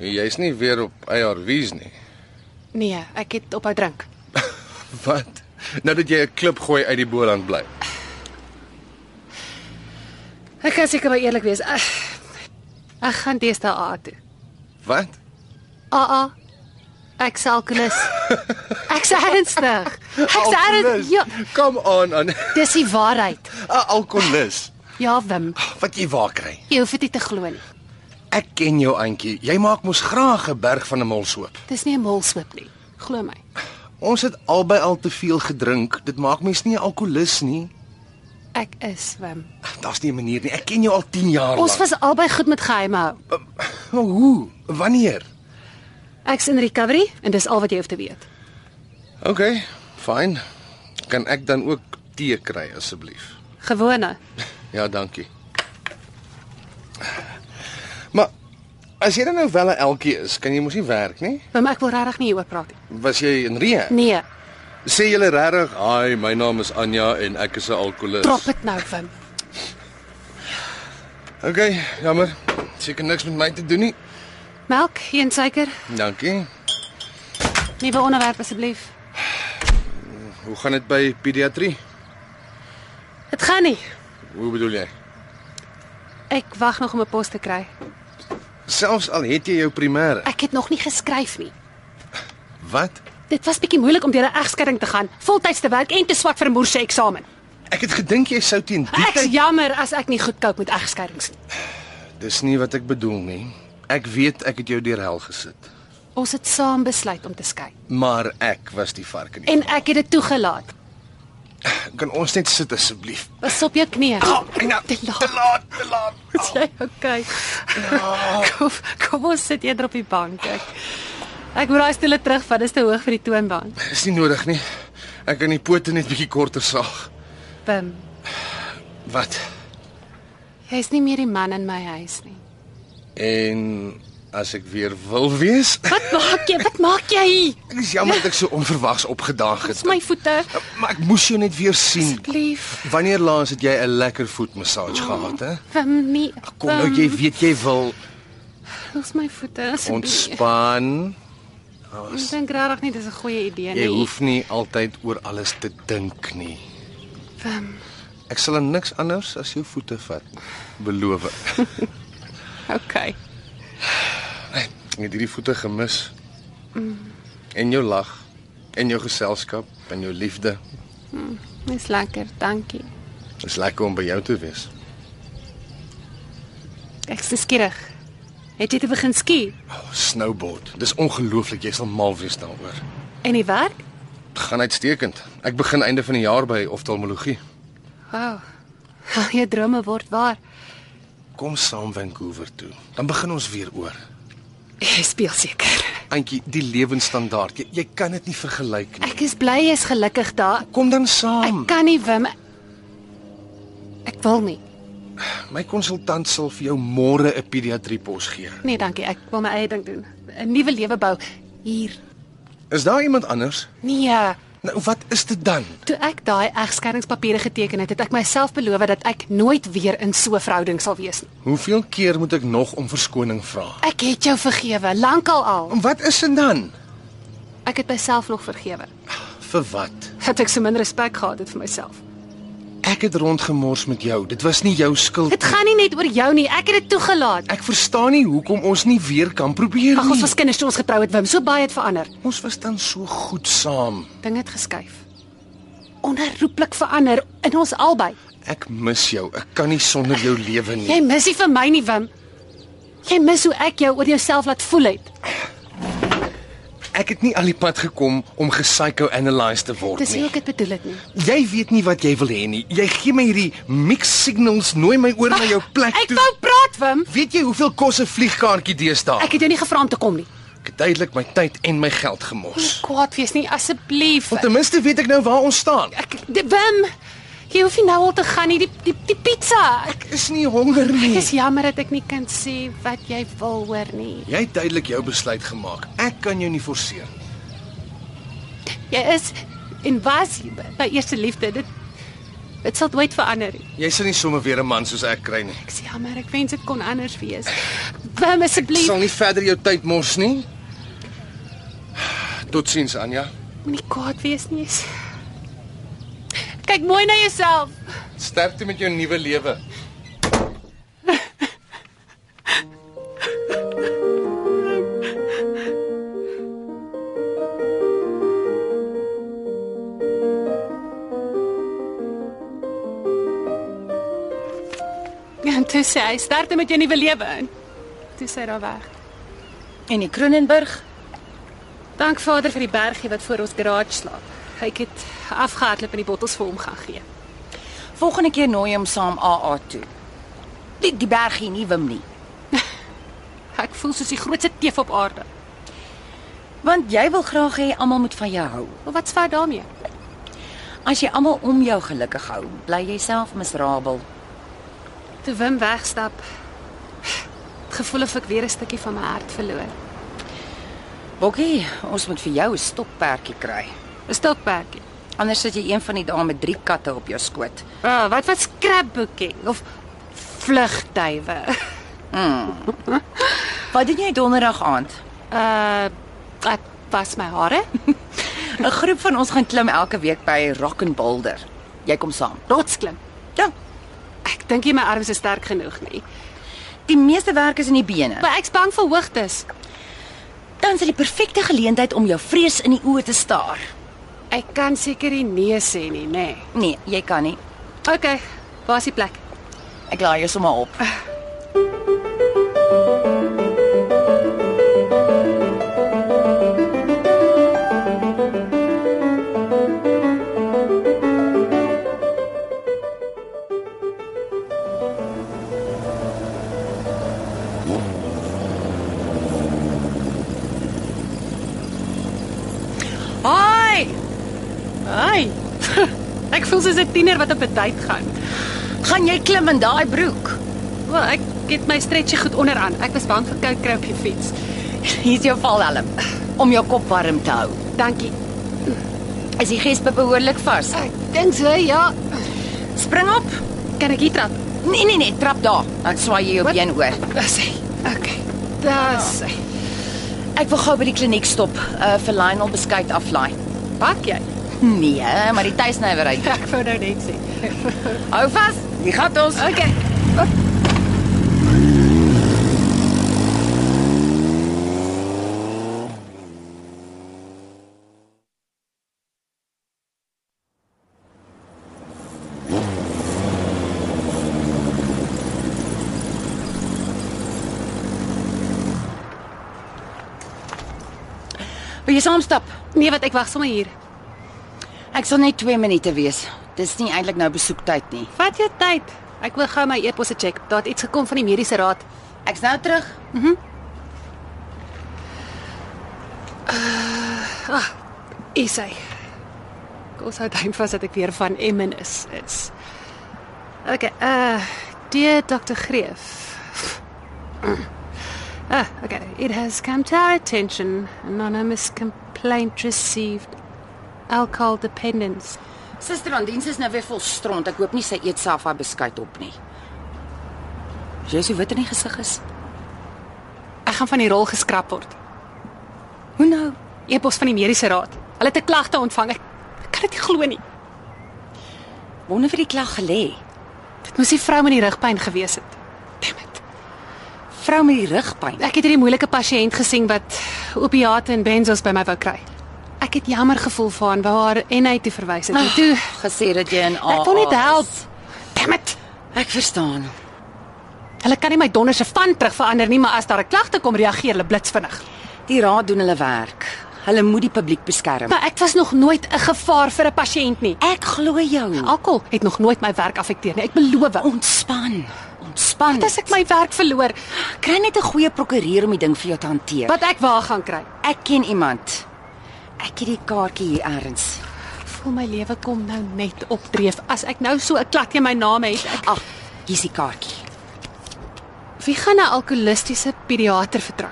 Jy's nie weer op ARV's nie. Nee, ek het ophou drink. Wat? Nou dat jy 'n klip gooi uit die Boland bly. Ek kan seker maar eerlik wees. Ek, ek gaan deesdae AA toe. Wat? AA. Ah, Ek sal alkoholus. Ek's ernstig. Ek's Alkoholist. ernstig. Ja, Kom aan aan 'n dis die waarheid. alkolikus Ja, Wim, wat jy waar kry. jy hoef dit nie te glo nie. Ek ken jou auntie. Jy maak mos graag 'n berg van 'n molshoop. Dis nie 'n molshoop nie. Glo my. Ons het albei al te veel gedrink. Dit maak mens nie 'n alkolikus nie. Ek is Wim. Daar's nie 'n manier nie. Ek ken jou al 10 jaar Ons lank. was albei goed met geheime hou. Maar hoe? Wanneer? Ek's in recovery en dis al wat jy hoef te weet. OK, fyn. Kan ek dan ook tee kry asseblief? Gewone. Ja, dankie. Maar as jy dan nou wel 'n elkie is, kan jy mos nie werk nie. Wim, ek wil regtig nie hieroor praat nie. Was jy in Rio? Nee, Sê julle regtig, "Hi, my naam is Anja en ek is 'n alkolikus." drop dit nou, Wim. OK, jammer. Seker niks met my te doen nie. Melk, geen suiker. Dankie. Nuwe onderwerp asseblief. Hoe gaan dit by pediatrie? Dit gaan nie. Hoe bedoel jy? Ek wag nog om 'n pos te kry. Selfs al het jy jou primêre. Ek het nog nie geskryf nie. Wat? Dit was bietjie moeilik om deur 'n egskeiding te gaan, voltyds te werk en te swat vir 'n moerse eksamen. Ek het gedink jy sou teen die Ek's tyd jammer as ek nie goed cope met egskeidings nie. Dis nie wat ek bedoel nie. Ek weet ek het jou deur hel gesit, Ons het saam besluit om te skei maar ek was die vark in die. en ek het dit toegelaat. Kan ons net sit asseblief? Was op jou knieë. Ah, Ina, Te laat. Te laat, te laat. Is jy okay? Ah. Kom, kom ons sit eerder op die bank. Ek Ek moet daai stoele terugvat, dis te hoog vir die toonbank. Dis nie nodig nie. Ek kan die pote net bietjie korter saag. Bim, Wat? jy's nie meer die man in my huis nie. En as ek weer wil wees, Wat maak jy? Wat maak jy hier? ek is jammer dat ek so onverwags opgedaag Dis het. my voete. Maar ek moes jou net weer sien. Asseblief. Wanneer laas het jy 'n lekker voetmassage gehad, hè? Wim nie. Kom Ehm, nou, jy weet jy wil Dis my voete. asseblief. ontspan. Ek dink regtig nie dis 'n goeie idee nie. Jy hoef nie altyd oor alles te dink nie. Wim, Ek sal aan niks anders as jou voete vat. Beloof. ek. okay. Ek het hierdie voete gemis. En jou lag, en jou geselskap, en jou liefde. Dis lekker, dankie. Dit is lekker om by jou te wees. Ek's nuuskierig. Het jy te begin ski? Oh, snowboard. Dis ongelooflik, jy sal mal wees daaroor. En die werk? Dit gaan uitstekend. Ek begin einde van die jaar by oftalmologie. Wow. Al Ja, jou drome word waar. Kom saam Vancouver toe. Dan begin ons weer oor. Jy speel seker. Antjie, die lewenstandaard, jy, jy kan dit nie vergelyk nie. Ek is bly jy's gelukkig daar. Kom dan saam. Ek kan nie Wim. Ek wil nie. My konsultant sal vir jou môre 'n pediatriepos gee. Nee, dankie. Ek wil my eie ding doen. 'n Nuwe lewe bou hier. Is daar iemand anders? Nee. Nou wat is dit dan? Toe ek daai egskeidingspapiere geteken het, het ek myself beloof dat ek nooit weer in so 'n verhouding sal wees nie. Hoeveel keer moet ek nog om verskoning vra? Ek het jou vergewe, lankal al. En wat is dit dan? Ek het myself nog vergewe. Vir wat? Het ek so min respek gehad het vir myself. Ek het rondgemors met jou. Dit was nie jou skuld Dit nie. gaan nie net oor jou nie. Ek het dit toegelaat. Ek verstaan nie hoekom ons nie weer kan probeer nie. Ag, ons was kinders toe ons getrou het, Wim. So baie het verander. ons was dan so goed saam. Dinge het geskuif. Onherroepelik verander in ons albei. Ek mis jou. Ek kan nie sonder jou lewe nie. Jy mis nie vir my nie, Wim. Jy mis hoe ek jou oor jouself laat voel het. Ek het nie al die pad gekom om gepsychoanalyse te word Dis nie. nie ek dit bedoel het nie. Jy weet nie wat jy wil hê nie. Jy gee my hierdie mixed signals nooi my oor na jou plek Ek wou praat, Wim. Weet jy hoeveel kos 'n vliegkaartjie deesdae? Ek het jou nie gevra om te kom nie. Ek het duidelik my tyd en my geld Moenie gemors. kwaad wees nie, asseblief. Want ten minste weet ek nou waar ons staan. Ek d- Wim, jy hoef nie nou al te gaan nie. Die die, die pizza. Ek Ek is nie honger ek nie. is jammer dat ek nie kan sê wat jy wil hoor nie. Jy het duidelik jou besluit gemaak. Ek kan jou nie forceer nie. Jy is en was my eerste liefde. Dit dit sal nooit verander nie. Jy sal nie sommer weer 'n man soos ek kry nie. Ek is jammer, ek wens dit kon anders wees. Wim, Ek asseblief, sal nie verder jou tyd mors nie. Totsiens Anja. moenie kwaad wees nie. Jy's- Kyk mooi na jouself. Sterkte met jou nuwe lewe. Ja, en toe sê hy, "Sterkte met jou nuwe lewe." En Toe sê hy daar weg. En die Kronenburg? Dank Vader vir die bergie wat voor ons garage slaap. Ek het afgehardloop en die bottels vir hom gaan gee. Volgende keer nooi hom saam AA toe. Die die bergie nie wim nie, Ek voel soos die grootste teef op aarde. want jy wil graag hê almal moet van jou hou. Maar wat's fout daarmee? As jy almal om jou gelukkig hou, bly jy self miserabel. Toe Wim wegstap, gevoel of ek weer 'n stukkie van my hart verloor. Bokkie, ons moet vir jou 'n stopperdjie kry. 'n Stokperdjie. Anders sit jy een van die dae met drie katte op jou skoot. Ah, wat wat scrapbooking of vlugduwe. Wat doen jy donderdag aand? Uh ek was my hare. 'n Groep van ons gaan klim elke week by Rock and Boulder. Jy kom saam. Rotsklim. Ja, Ek dink nie my arms is sterk genoeg nie. die meeste werk is in die bene. Maar ek's bang vir hoogtes. Dan is dit die perfekte geleentheid om jou vrees in die oë te staar. Ek kan seker nie nee sê nie, nê. Nee. Nee, jy kan nie. OK, waar's die plek? Ek laai jou sommer op. Hi. Hi. ek voel soos 'n tiener wat op 'n date gaan. Gaan jy klim in daai broek? Wel, ek het my stretchie goed onderaan. Ek was bang vir koud kry op die fiets. Hier's jou valhelm om jou kop warm te hou. Dankie. Is die gespe behoorlik vas? Ek dink so, ja. Spring op. Kan ek hier trap? Nee nee nee, trap daar. Dan swaai jy jou Wat? been oor. Dis hy. Okay. Dis hy. Ek wil gou by die kliniek stop uh, vir Lionel beskuit aflaai. Pak jy? Nee, maar die tuisnywerheid. Ek wou nou net sê. Hou vas. Die gat ons. Okay. Wil jy saam stap? Nee, wat ek wag sommer hier. Ek sal net 2 minute wees. Dis nie eintlik nou besoektyd nie. Vat jou tyd. Ek wil gou my e-posse check. Daar het iets gekom van die mediese raad. Ek's nou terug. Is hy. Kos hou duim vas dat ek weer van Emmen is is. Okay, uh dear Dr. Greef. Ah, okay. It has come to our attention anonymous complaint received alcohol dependence. Suster aan diens is nou weer vol stront. Ek hoop nie sy eet self haar beskuit op nie. Jy sien wit in die gesig is. Ek gaan van die rol geskraap word. Hoe nou? E-pos van die mediese raad. Hulle het 'n klagte ontvang. Ek, ek kan dit nie glo nie. Wonder vir die klag gelê. Dit moes die vrou met die rugpyn gewees het. Damn it. Vrou met die rugpyn. Ek het hierdie moeilike pasiënt gesien wat opiate en benzos by my wou kry. Ek het jammer gevoel vir haar en wou haar NA toe verwys het. En toe, Gesê dat jy in A. ek kon nie help. Damn it. Ek verstaan. Hulle kan nie my donderse van terug verander nie, maar as daar 'n klagte kom, reageer hulle blitsvinnig. Die raad doen hulle werk. Hulle moet die publiek beskerm. Maar ek was nog nooit 'n gevaar vir 'n pasiënt nie. Ek glo jou. Alkohol het nog nooit my werk afekteer nie. Ek beloof. Ontspan. Ontspan. Dis ek my werk verloor kry net 'n goeie prokureur om die ding vir jou te hanteer. wat ek waar gaan kry. ek ken iemand. Ek het die kaartjie hier elders. Ek voel my lewe kom nou net opdreef. As ek nou so 'n klak teen my naam het, ek Ag, hier's die kaartjie. Wie gaan 'n alkoholistiese pediater vertrou?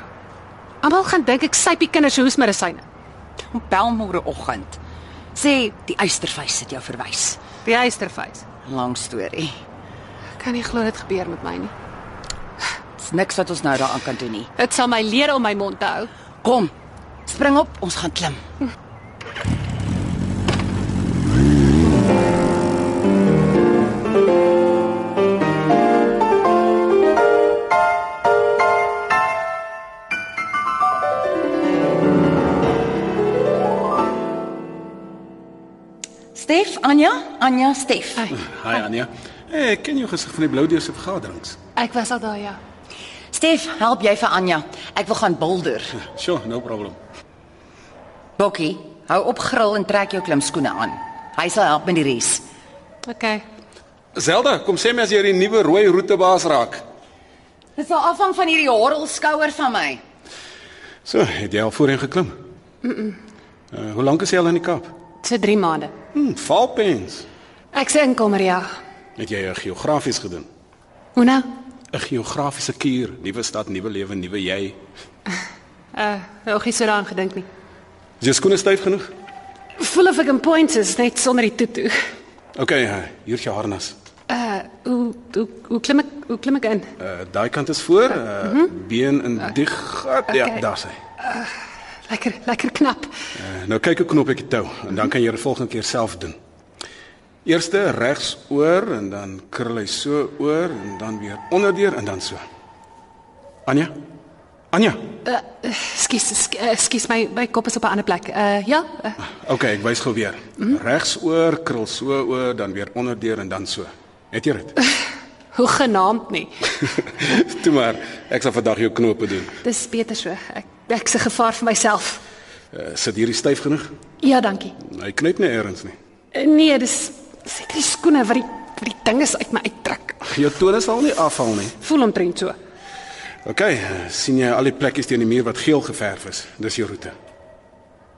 Almal gaan dink ek sypie kinders hoesmedisyne. Kom bel môreoggend. Sê die uistervuis het jou verwys. Die huisterfees. Lang storie. Ek kan nie glo dit gebeur met my nie. Dit's niks wat ons nou daaraan kan doen nie. Dit sal my leer om my mond te hou. Kom. Spring op, ons gaan klim. Stef, Anja, Anja, Stef. Hi Anja. Hey, ek ken jou gesig van die blou deur se vergaderings. Ek was al daar ja. Stef, help jy vir Anja? Ek wil gaan bulder. Sjoe, no problem. Bokkie, hou op gril en trek jou klimskoene aan. Hy sal help met die res. Okay. Zelda, kom sê my as jy die nuwe rooi roetebaas raak. Dit sal afhang van hierdie horrelskouer van my. So, het jy al voorheen geklim? Mhm. -mm. Uh, hoe lank is jy al in die Kaap? So 3 maande. Hm, valpens. Ek se inkomer ja. Het jy jou geografies gedoen? Hoe nou? 'n Geografiese kuur, nuwe stad, nuwe lewe, nuwe jy. Uh, nog nie so daaraan gedink nie. Is jou skoene styf genoeg? Voel of ek in points is net sonder die tutu. OK, uh, hier's jou harnas. Uh, hoe hoe hoe klim ek hoe klim ek in? Uh, daai kant is voor, uh, mm -hmm. been in die gat. Okay. Ja, Okay. daar's hy. Lekker lekker knap. Uh, nou kyk hoe knop ek die tou en dan kan jy dit volgende keer self doen. Eerste regs oor en dan krul hy so oor en dan weer onderdeur en dan so. Anja? Anja. Uh, skus eh, skus my my kop is op 'n ander plek. Uh ja, uh, OK, ek wys gou weer. Mm -hmm. Regs oor, krul so oor, dan weer onderdeur en dan so. Het jy dit? hoe genaamd nie. Toe maar, ek sal vandag jou knope doen. Dis beter so. Ek ek se gevaar vir myself. Uh, sit hierdie styf genoeg? Ja, dankie. Hy knyp nie eers nie. Uh, nee, dis seker die skoene wat die wat die ding is uit my uittrek. Jou tone sal nie afval nie. Voel omtrent so. OK, sien jy al die plekkies teen die muur wat geel geverf is? Dis jou roete.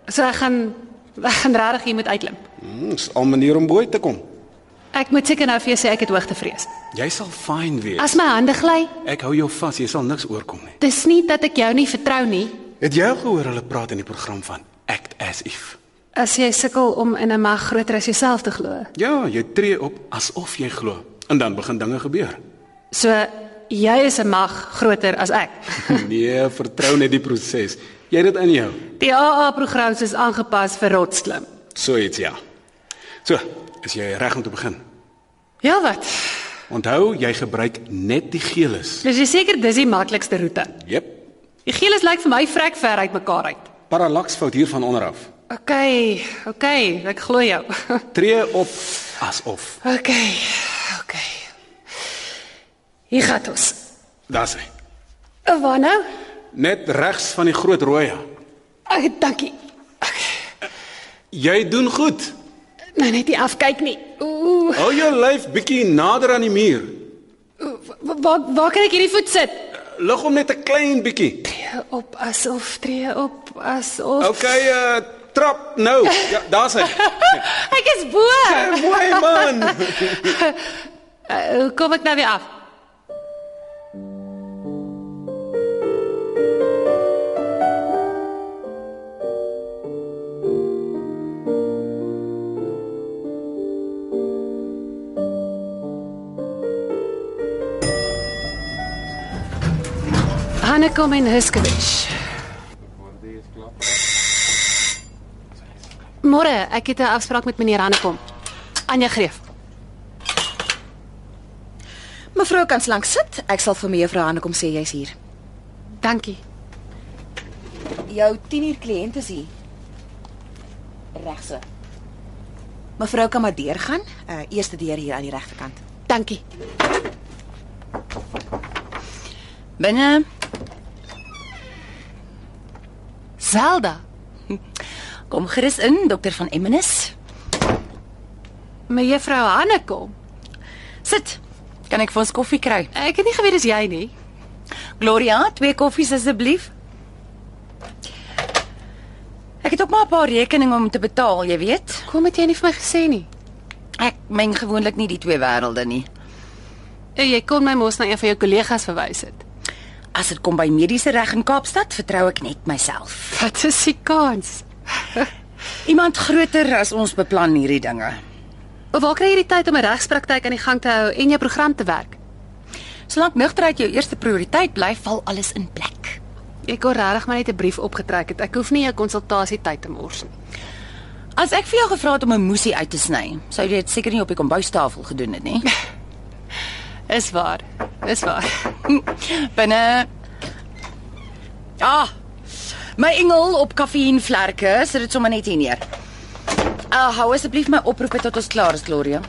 So ek gaan ek gaan regtig hier moet uitklim. Hmm, dis al 'n manier om bo te kom. Ek moet seker nou vir jou sê ek het hoogtevrees. Jy sal fyn wees. As my hande gly, Ek hou jou vas, jy sal niks oorkom nie. dis nie dat ek jou nie vertrou nie. Het jy al gehoor hulle praat in die program van act as if? As jy sukkel om in 'n mag groter as jouself te glo. Ja, jy tree op asof jy glo en dan begin dinge gebeur. So jy is 'n mag groter as ek. nee, vertrou net die proses. Jy het dit in jou. Die AA-program is aangepas vir rotsklim. So iets ja. So, is jy reg om te begin? Ja wat? Onthou, jy gebruik net die geeles. Dis jy seker dis die maklikste roete. Jep. Die geeles lyk vir my vrek ver uit mekaar uit. Parallaksfout hier van onder af. OK, OK, ek glo jou. Tree op asof. OK. OK. Hier gaan ons. Daar's hy. O, Waar nou? Net regs van die groot rooi. ja. Ag, dankie. Jy doen goed. Nou net nie afkyk nie. Ooh, Hou jou lyf bietjie nader aan die muur. wa- waar waar kan ek hierdie voet sit? Lig hom net 'n klein bietjie. Tree op asof, tree op asof. OK, uh, trap nou. Ja, daar's hy. Ek is bo. Eh, Mooi man. Uh, kom ek nou weer af. Hannekom en Huskewitsch. Môre, ek het 'n afspraak met meneer Hannekom. Anja Greef. Mevrou kan slank sit. Ek sal vir mevrou Hanne kom sê jy's hier. Dankie. Jou 10uur kliënt is hier. Regse. Mevrou kan maar deurgaan. Uh eerste deur hier aan die regterkant. Dankie. Binne Zelda, kom gerus in, dokter van Emmenis. my juffrou Hanne kom. Sit. Kan ek vir ons koffie kry? Ek het nie geweet dis jy nie. Gloria, twee koffies asseblief. Ek het ook maar 'n paar rekeninge om te betaal, jy weet. Kom het jy nie vir my gesê nie. Ek meng gewoonlik nie die twee wêrelde nie. Eh, Jy kon my mos na een van jou kollegas verwys het. As dit kom by mediese reg in Kaapstad, vertrou ek net myself. Wat is die kans? Iemand groter as ons beplan hierdie dinge. Of waar kry jy die tyd om 'n regspraktyk aan die gang te hou en jou program te werk? Solank nugterheid jou eerste prioriteit bly, val alles in plek. Ek kon regtig maar net 'n brief opgetrek het. Ek hoef nie 'n konsultasie tyd te mors nie. As ek vir jou gevra het om 'n moesie uit te sny, sou jy dit seker nie op die kombuistafel gedoen het nie. Is waar. Is waar. Binne. Ah. My engel op kaffienvlerke, sit dit sommer net hier neer. Ah, hou asseblief my oproepe tot ons klaar is, Gloria.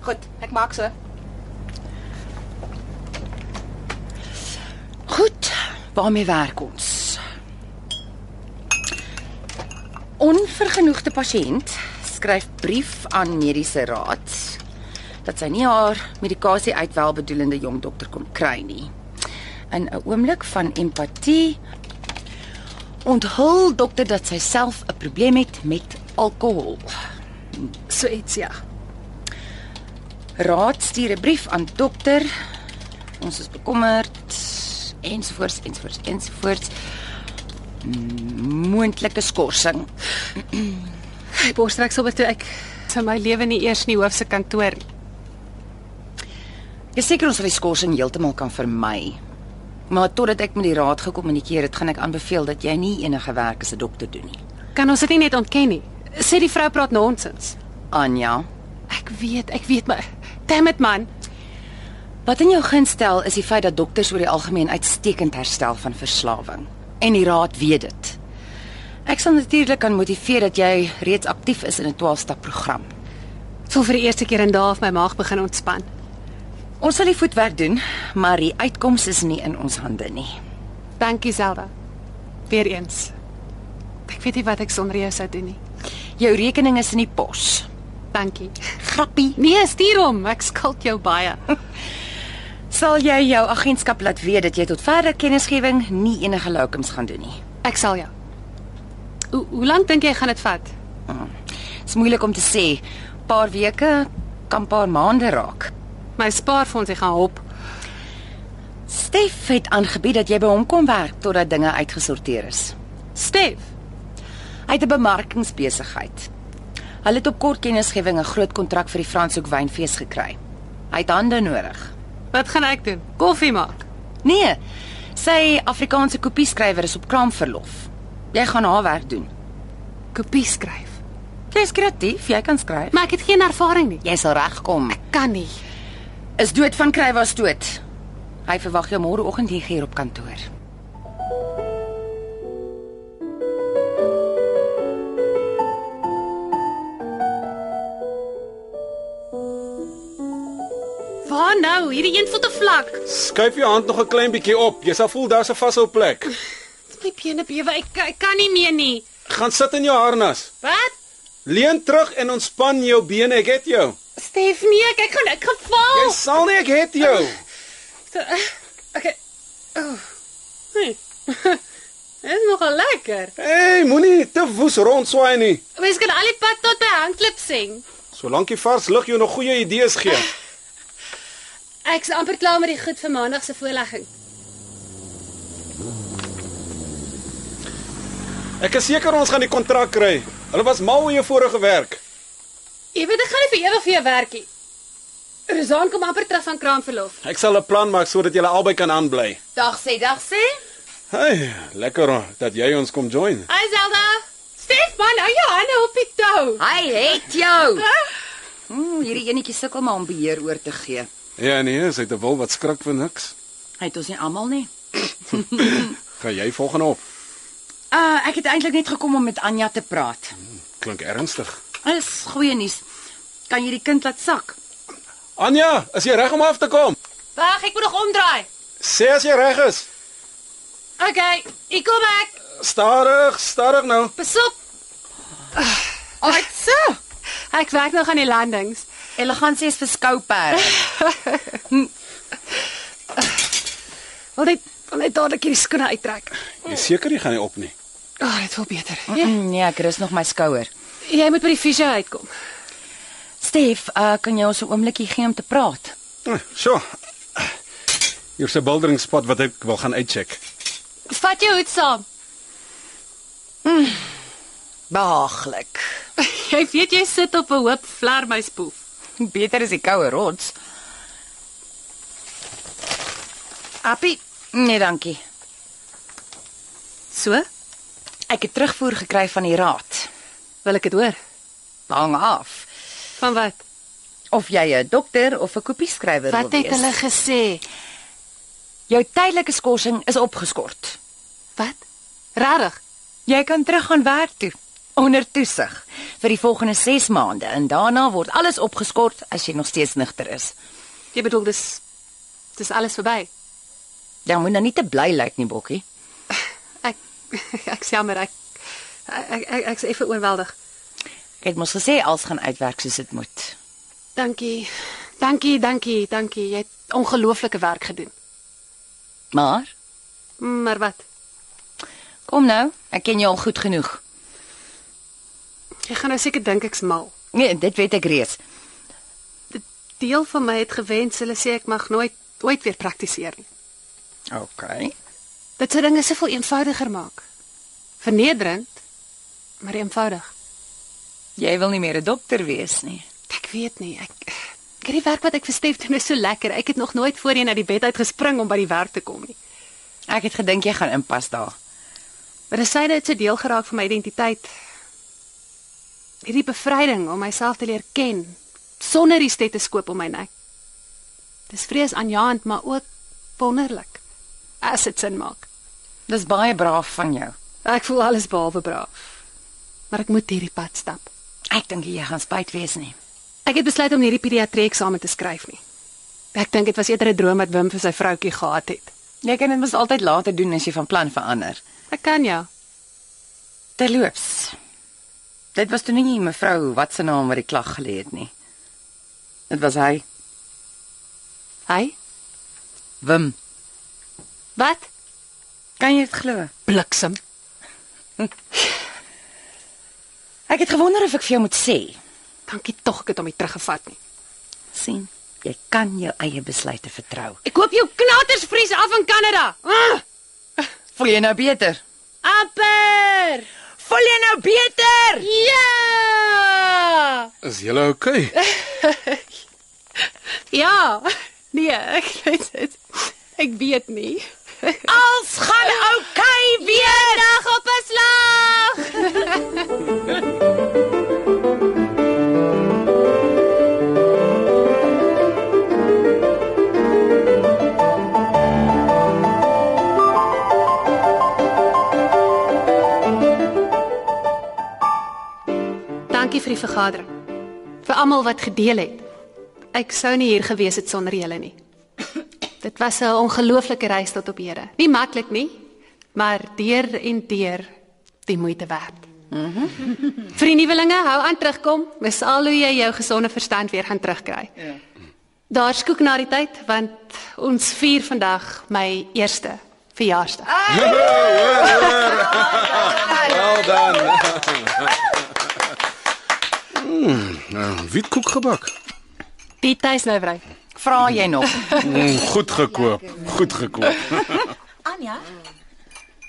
Goed, ek maak so. Goed, waarmee werk ons? onvergenoegde pasiënt skryf brief aan mediese raad dat sy nie haar medikasie uit welbedoelende jong dokter kon kry nie. In 'n oomblik van empatie onthul dokter dat sy self 'n probleem het met alkohol. So iets ja. Raad stuur 'n brief aan dokter. Ons is bekommerd ensovoorts ensovoorts ensovoorts. Moontlike skorsing. Ek borstrek sommer toe ek sy my lewe nie eers in die hoof se kantoor. Ek is seker ons sal die skorsing heeltemal kan vermy. Maar totdat ek met die raad gekommunikeer het, gaan ek aanbeveel dat jy nie enige werk as 'n dokter doen nie. Kan ons dit nie net ontken nie? Sê die vrou praat nonsens. Anja, Ek weet, ek weet maar. Damn it man. Wat in jou gunstel is die feit dat dokters oor die algemeen uitstekend herstel van verslawing en die raad weet dit. Ek sal natuurlik kan motiveer dat jy reeds aktief is in 'n 12-stap program. Ek voel vir die eerste keer in dae of my maag begin ontspan. Ons sal die voetwerk doen, maar die uitkoms is nie in ons hande nie. Dankie Zelda. Weereens. Ek weet nie wat ek sonder jou sou doen nie. Jou rekening is in die pos. Dankie. Grappie. Nee, stuur hom. Ek skuld jou baie. Sal jy jou agentskap laat weet dat jy tot verdere kennisgewing nie enige locums gaan doen nie. Ek sal jou. Hoe hoe lank dink jy gaan dit vat? Dit is moeilik om te sê. Paar weke kan paar maande raak. My spaarfondse gaan hop. Stef het aangebied dat jy by hom kom werk totdat dinge uitgesorteer is. Stef, Hy het 'n bemarkingsbesigheid. Hulle het op kort kennisgewing 'n groot kontrak vir die Franshoek wynfees gekry. Hy het hande nodig. wat gaan ek doen? Koffie maak. Nee, sy Afrikaanse kopieskrywer is op kraamverlof. Jy gaan haar werk doen. Kopie skryf. Jy's kreatief, jy kan skryf. Maar ek het geen ervaring nie. Jy sal regkom. Kan nie. Is dood van kry was dood. Hy verwag jou môreoggend hier hier op kantoor. Waar nou? Hierdie een voet te vlak. Skuif jou hand nog 'n klein bietjie op. Jy sal voel daar's 'n vashou plek. My bene bewe. Ek, ek kan nie meer nie. Gaan sit in jou harnas. Wat? Leun terug en ontspan jou bene. Ek het jou. Stef, nee, ek ek gaan ek gaan val. Jy sal nie ek het jou. Okay. Oh. Nee. Dit is nogal lekker. Hey, moenie te woes rondswaai nie. Mens kan al die pad tot by hangklip sing. Solank die vars lug jou nog goeie idees gee. Ek's amper klaar met die goed vir maandag se voorlegging. Ek is seker ons gaan die kontrak kry. Hulle was mal oor jou vorige werk. Jy weet ek gaan nie vir ewig vir jou werkie. Rosan kom amper terug van kraamverlof. Ek sal 'n plan maak sodat julle albei kan aanbly. Dag sê, dag sê. Hey, lekker dat jy ons kom join. Hi Zelda. Stef man, hou jou hande op die tou. Hy het jou. Mm, hierdie enetjie sukkel maar om beheer oor te gee. Ja nee, sy het 'n wil wat skrik vir niks. Hy het ons nie almal nie. Gaan jy volgende op? Uh, ek het eintlik net gekom om met Anja te praat. Klink ernstig. Alles goeie nuus. Kan jy die kind laat sak? Anja, is jy reg om af te kom? Wag, ek moet nog omdraai. Sê as jy reg is. Okay, ek kom ek. Stadig, stadig nou. Besop. Ag, so. Ah. Ek werk nog aan die landings. Elegansie is vir skouper. Wil net wil net dadelik hierdie skoene uittrek. Jy is seker jy gaan nie op nie. Ag, oh, dit voel beter. nee, ek rus nog my skouer. Jy moet by die fisio uitkom. Stef, uh, kan jy ons 'n oombliekie gee om te praat? Hm, So. Hier's 'n boulderingsspot wat ek wil gaan uitcheck. Vat jou hoed saam. Behaaglik. Jy weet jy sit op 'n hoop vlermuispoef. Beter as die koue rots. Appie, nee dankie. So? Ek het terugvoer gekry van die raad. Wil ek dit hoor? Hang af. Van wat? Of jy 'n dokter of 'n kopieskrywer wil Wat wees. het hulle gesê? Jou tydelike skorsing is opgeskort. Wat? Regtig? Jy kan teruggaan werk toe onder toesig vir die volgende 6 maande en daarna word alles opgeskort as jy nog steeds nigter is. Jy bedoel dis dis alles verby. Jy moet nou nie te bly lyk nie, Bokkie. Ek ek is jammer ek Ek ek ek's effe oorweldig. Ek het mos gesê alles gaan uitwerk soos dit moet. Dankie. Dankie, dankie, dankie. Jy het ongelooflike werk gedoen. Maar Maar wat? kom nou, ek ken jou al goed genoeg. Jy gaan nou seker dink ek's mal. Nee, dit weet ek reeds. Deel van my het gewens hulle sê ek mag nooit ooit weer praktiseer nie. OK. Dit sou dinge soveel eenvoudiger maak. Vernederend, maar eenvoudig. Jy wil nie meer 'n dokter wees nie. Ek weet nie, ek ek het die werk wat ek verstef doen is so lekker. Ek het nog nooit voorheen uit die bed uit gespring om by die werk te kom nie. Ek het gedink jy gaan inpas daar. Maar dit syde het so deel geraak van my identiteit. Hierdie bevryding om myself te leer ken sonder die stetoskoop om my nek. Dis vrees aanjaend, maar ook wonderlik as dit sin maak. Dis baie braaf van jou. Ek voel alles behalwe braaf. Maar ek moet hierdie pad stap. Ek dink jy gaan spyt wees nie. Ek het besluit om nie hierdie pediatrie eksamen te skryf nie. Ek dink dit was eerder 'n droom wat Wim vir sy vroutjie gehad het. Jy kan dit mos altyd later doen as jy van plan verander. Ek kan ja. Terloops. Dit was toe nie mevrou wat se naam wat die klag gelê het nie. Dit was hy. Hy? Wim. Wat? Kan jy dit glo? Bliksem. Ek het gewonder of ek vir jou moet sê. Dankie tog ek het hom nie teruggevat nie. sien, jy kan jou eie besluite vertrou. Ek koop jou knaters vries af in Kanada. Ah! Voel jy nou beter? Amper. Voel jy nou beter? Ja! Is jy okay? Ja. Nee, ek weet dit. Ek weet nie. Als gaan okay weer. Dag op 'n slag. Dankie vir die vergadering. Vir almal wat gedeel het. Ek sou nie hier gewees het sonder julle nie. Dit was 'n ongelooflike reis tot op hede. Nie maklik nie, maar deur en deur die moeite werd. Vir die nuwelinge, hou aan terugkom. Dis al hoe jy jou gesonde verstand weer gaan terugkry. Ja. Daar skoek na die tyd want ons vier vandag my eerste verjaarsdag. Wel dan. Mm, nou, witkoek gebak. Die tuislouwery. Vra jy nog? Mm, goed gekoop, goed gekoop. Anja?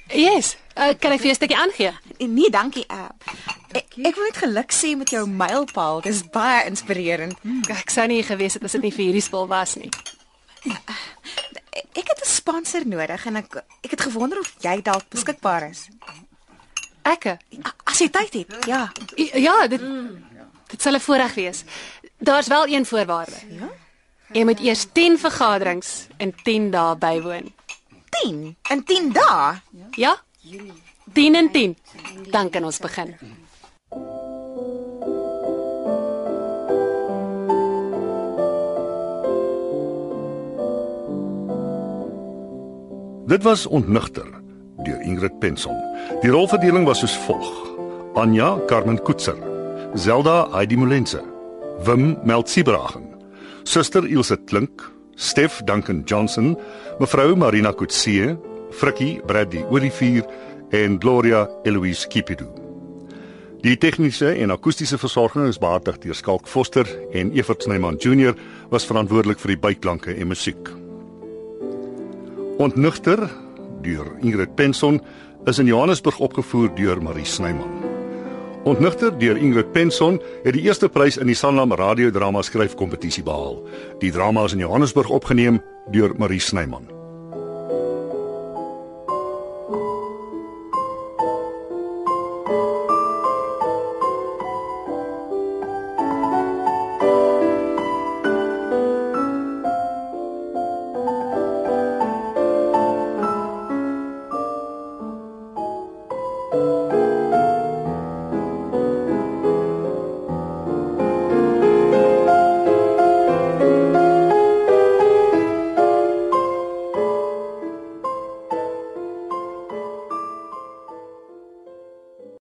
Yes, uh, kan ek vir jou 'n stukkie aangee? Nee, dankie. Uh, ek, ek wil net geluk sê met jou mylpaal. Dis baie inspirerend. Ek sou nie geweet het as dit nie vir hierdie spul was nie. E, Ek het 'n sponsor nodig en ek ek het gewonder of jy dalk beskikbaar is. Ekke, as jy tyd het. Ja. Ja, dit dit sal 'n voorreg wees. Daar's wel een voorwaarde. Ja. Jy moet eers 10 vergaderings in 10 dae bywoon. 10 in 10 dae. Ja? 10 in 10. Dan kan ons begin. Dit was Ontnigter deur Ingrid Penson. Die rolverdeling was soos volg: Anja Carmen Koetser, Zelda Heidi Molense, Wim Meltsibragen, Suster Ilse Klink, Stef Duncan Johnson, Mevrou Marina Kutse, Frikkie Bradley Olivier en Gloria Eloise Kipidu. Die tegniese en akoestiese versorging is behartig deur Skalk Foster en Evert Snyman Junior was verantwoordelik vir die byklanke en musiek. Ontnugter deur Ingrid Penson is in Johannesburg opgevoer deur Marie Snyman. Ontnugter deur Ingrid Penson het die eerste prys in die Sanlam radiodrama skryfkompetisie behaal. Die drama is in Johannesburg opgeneem deur Marie Snyman.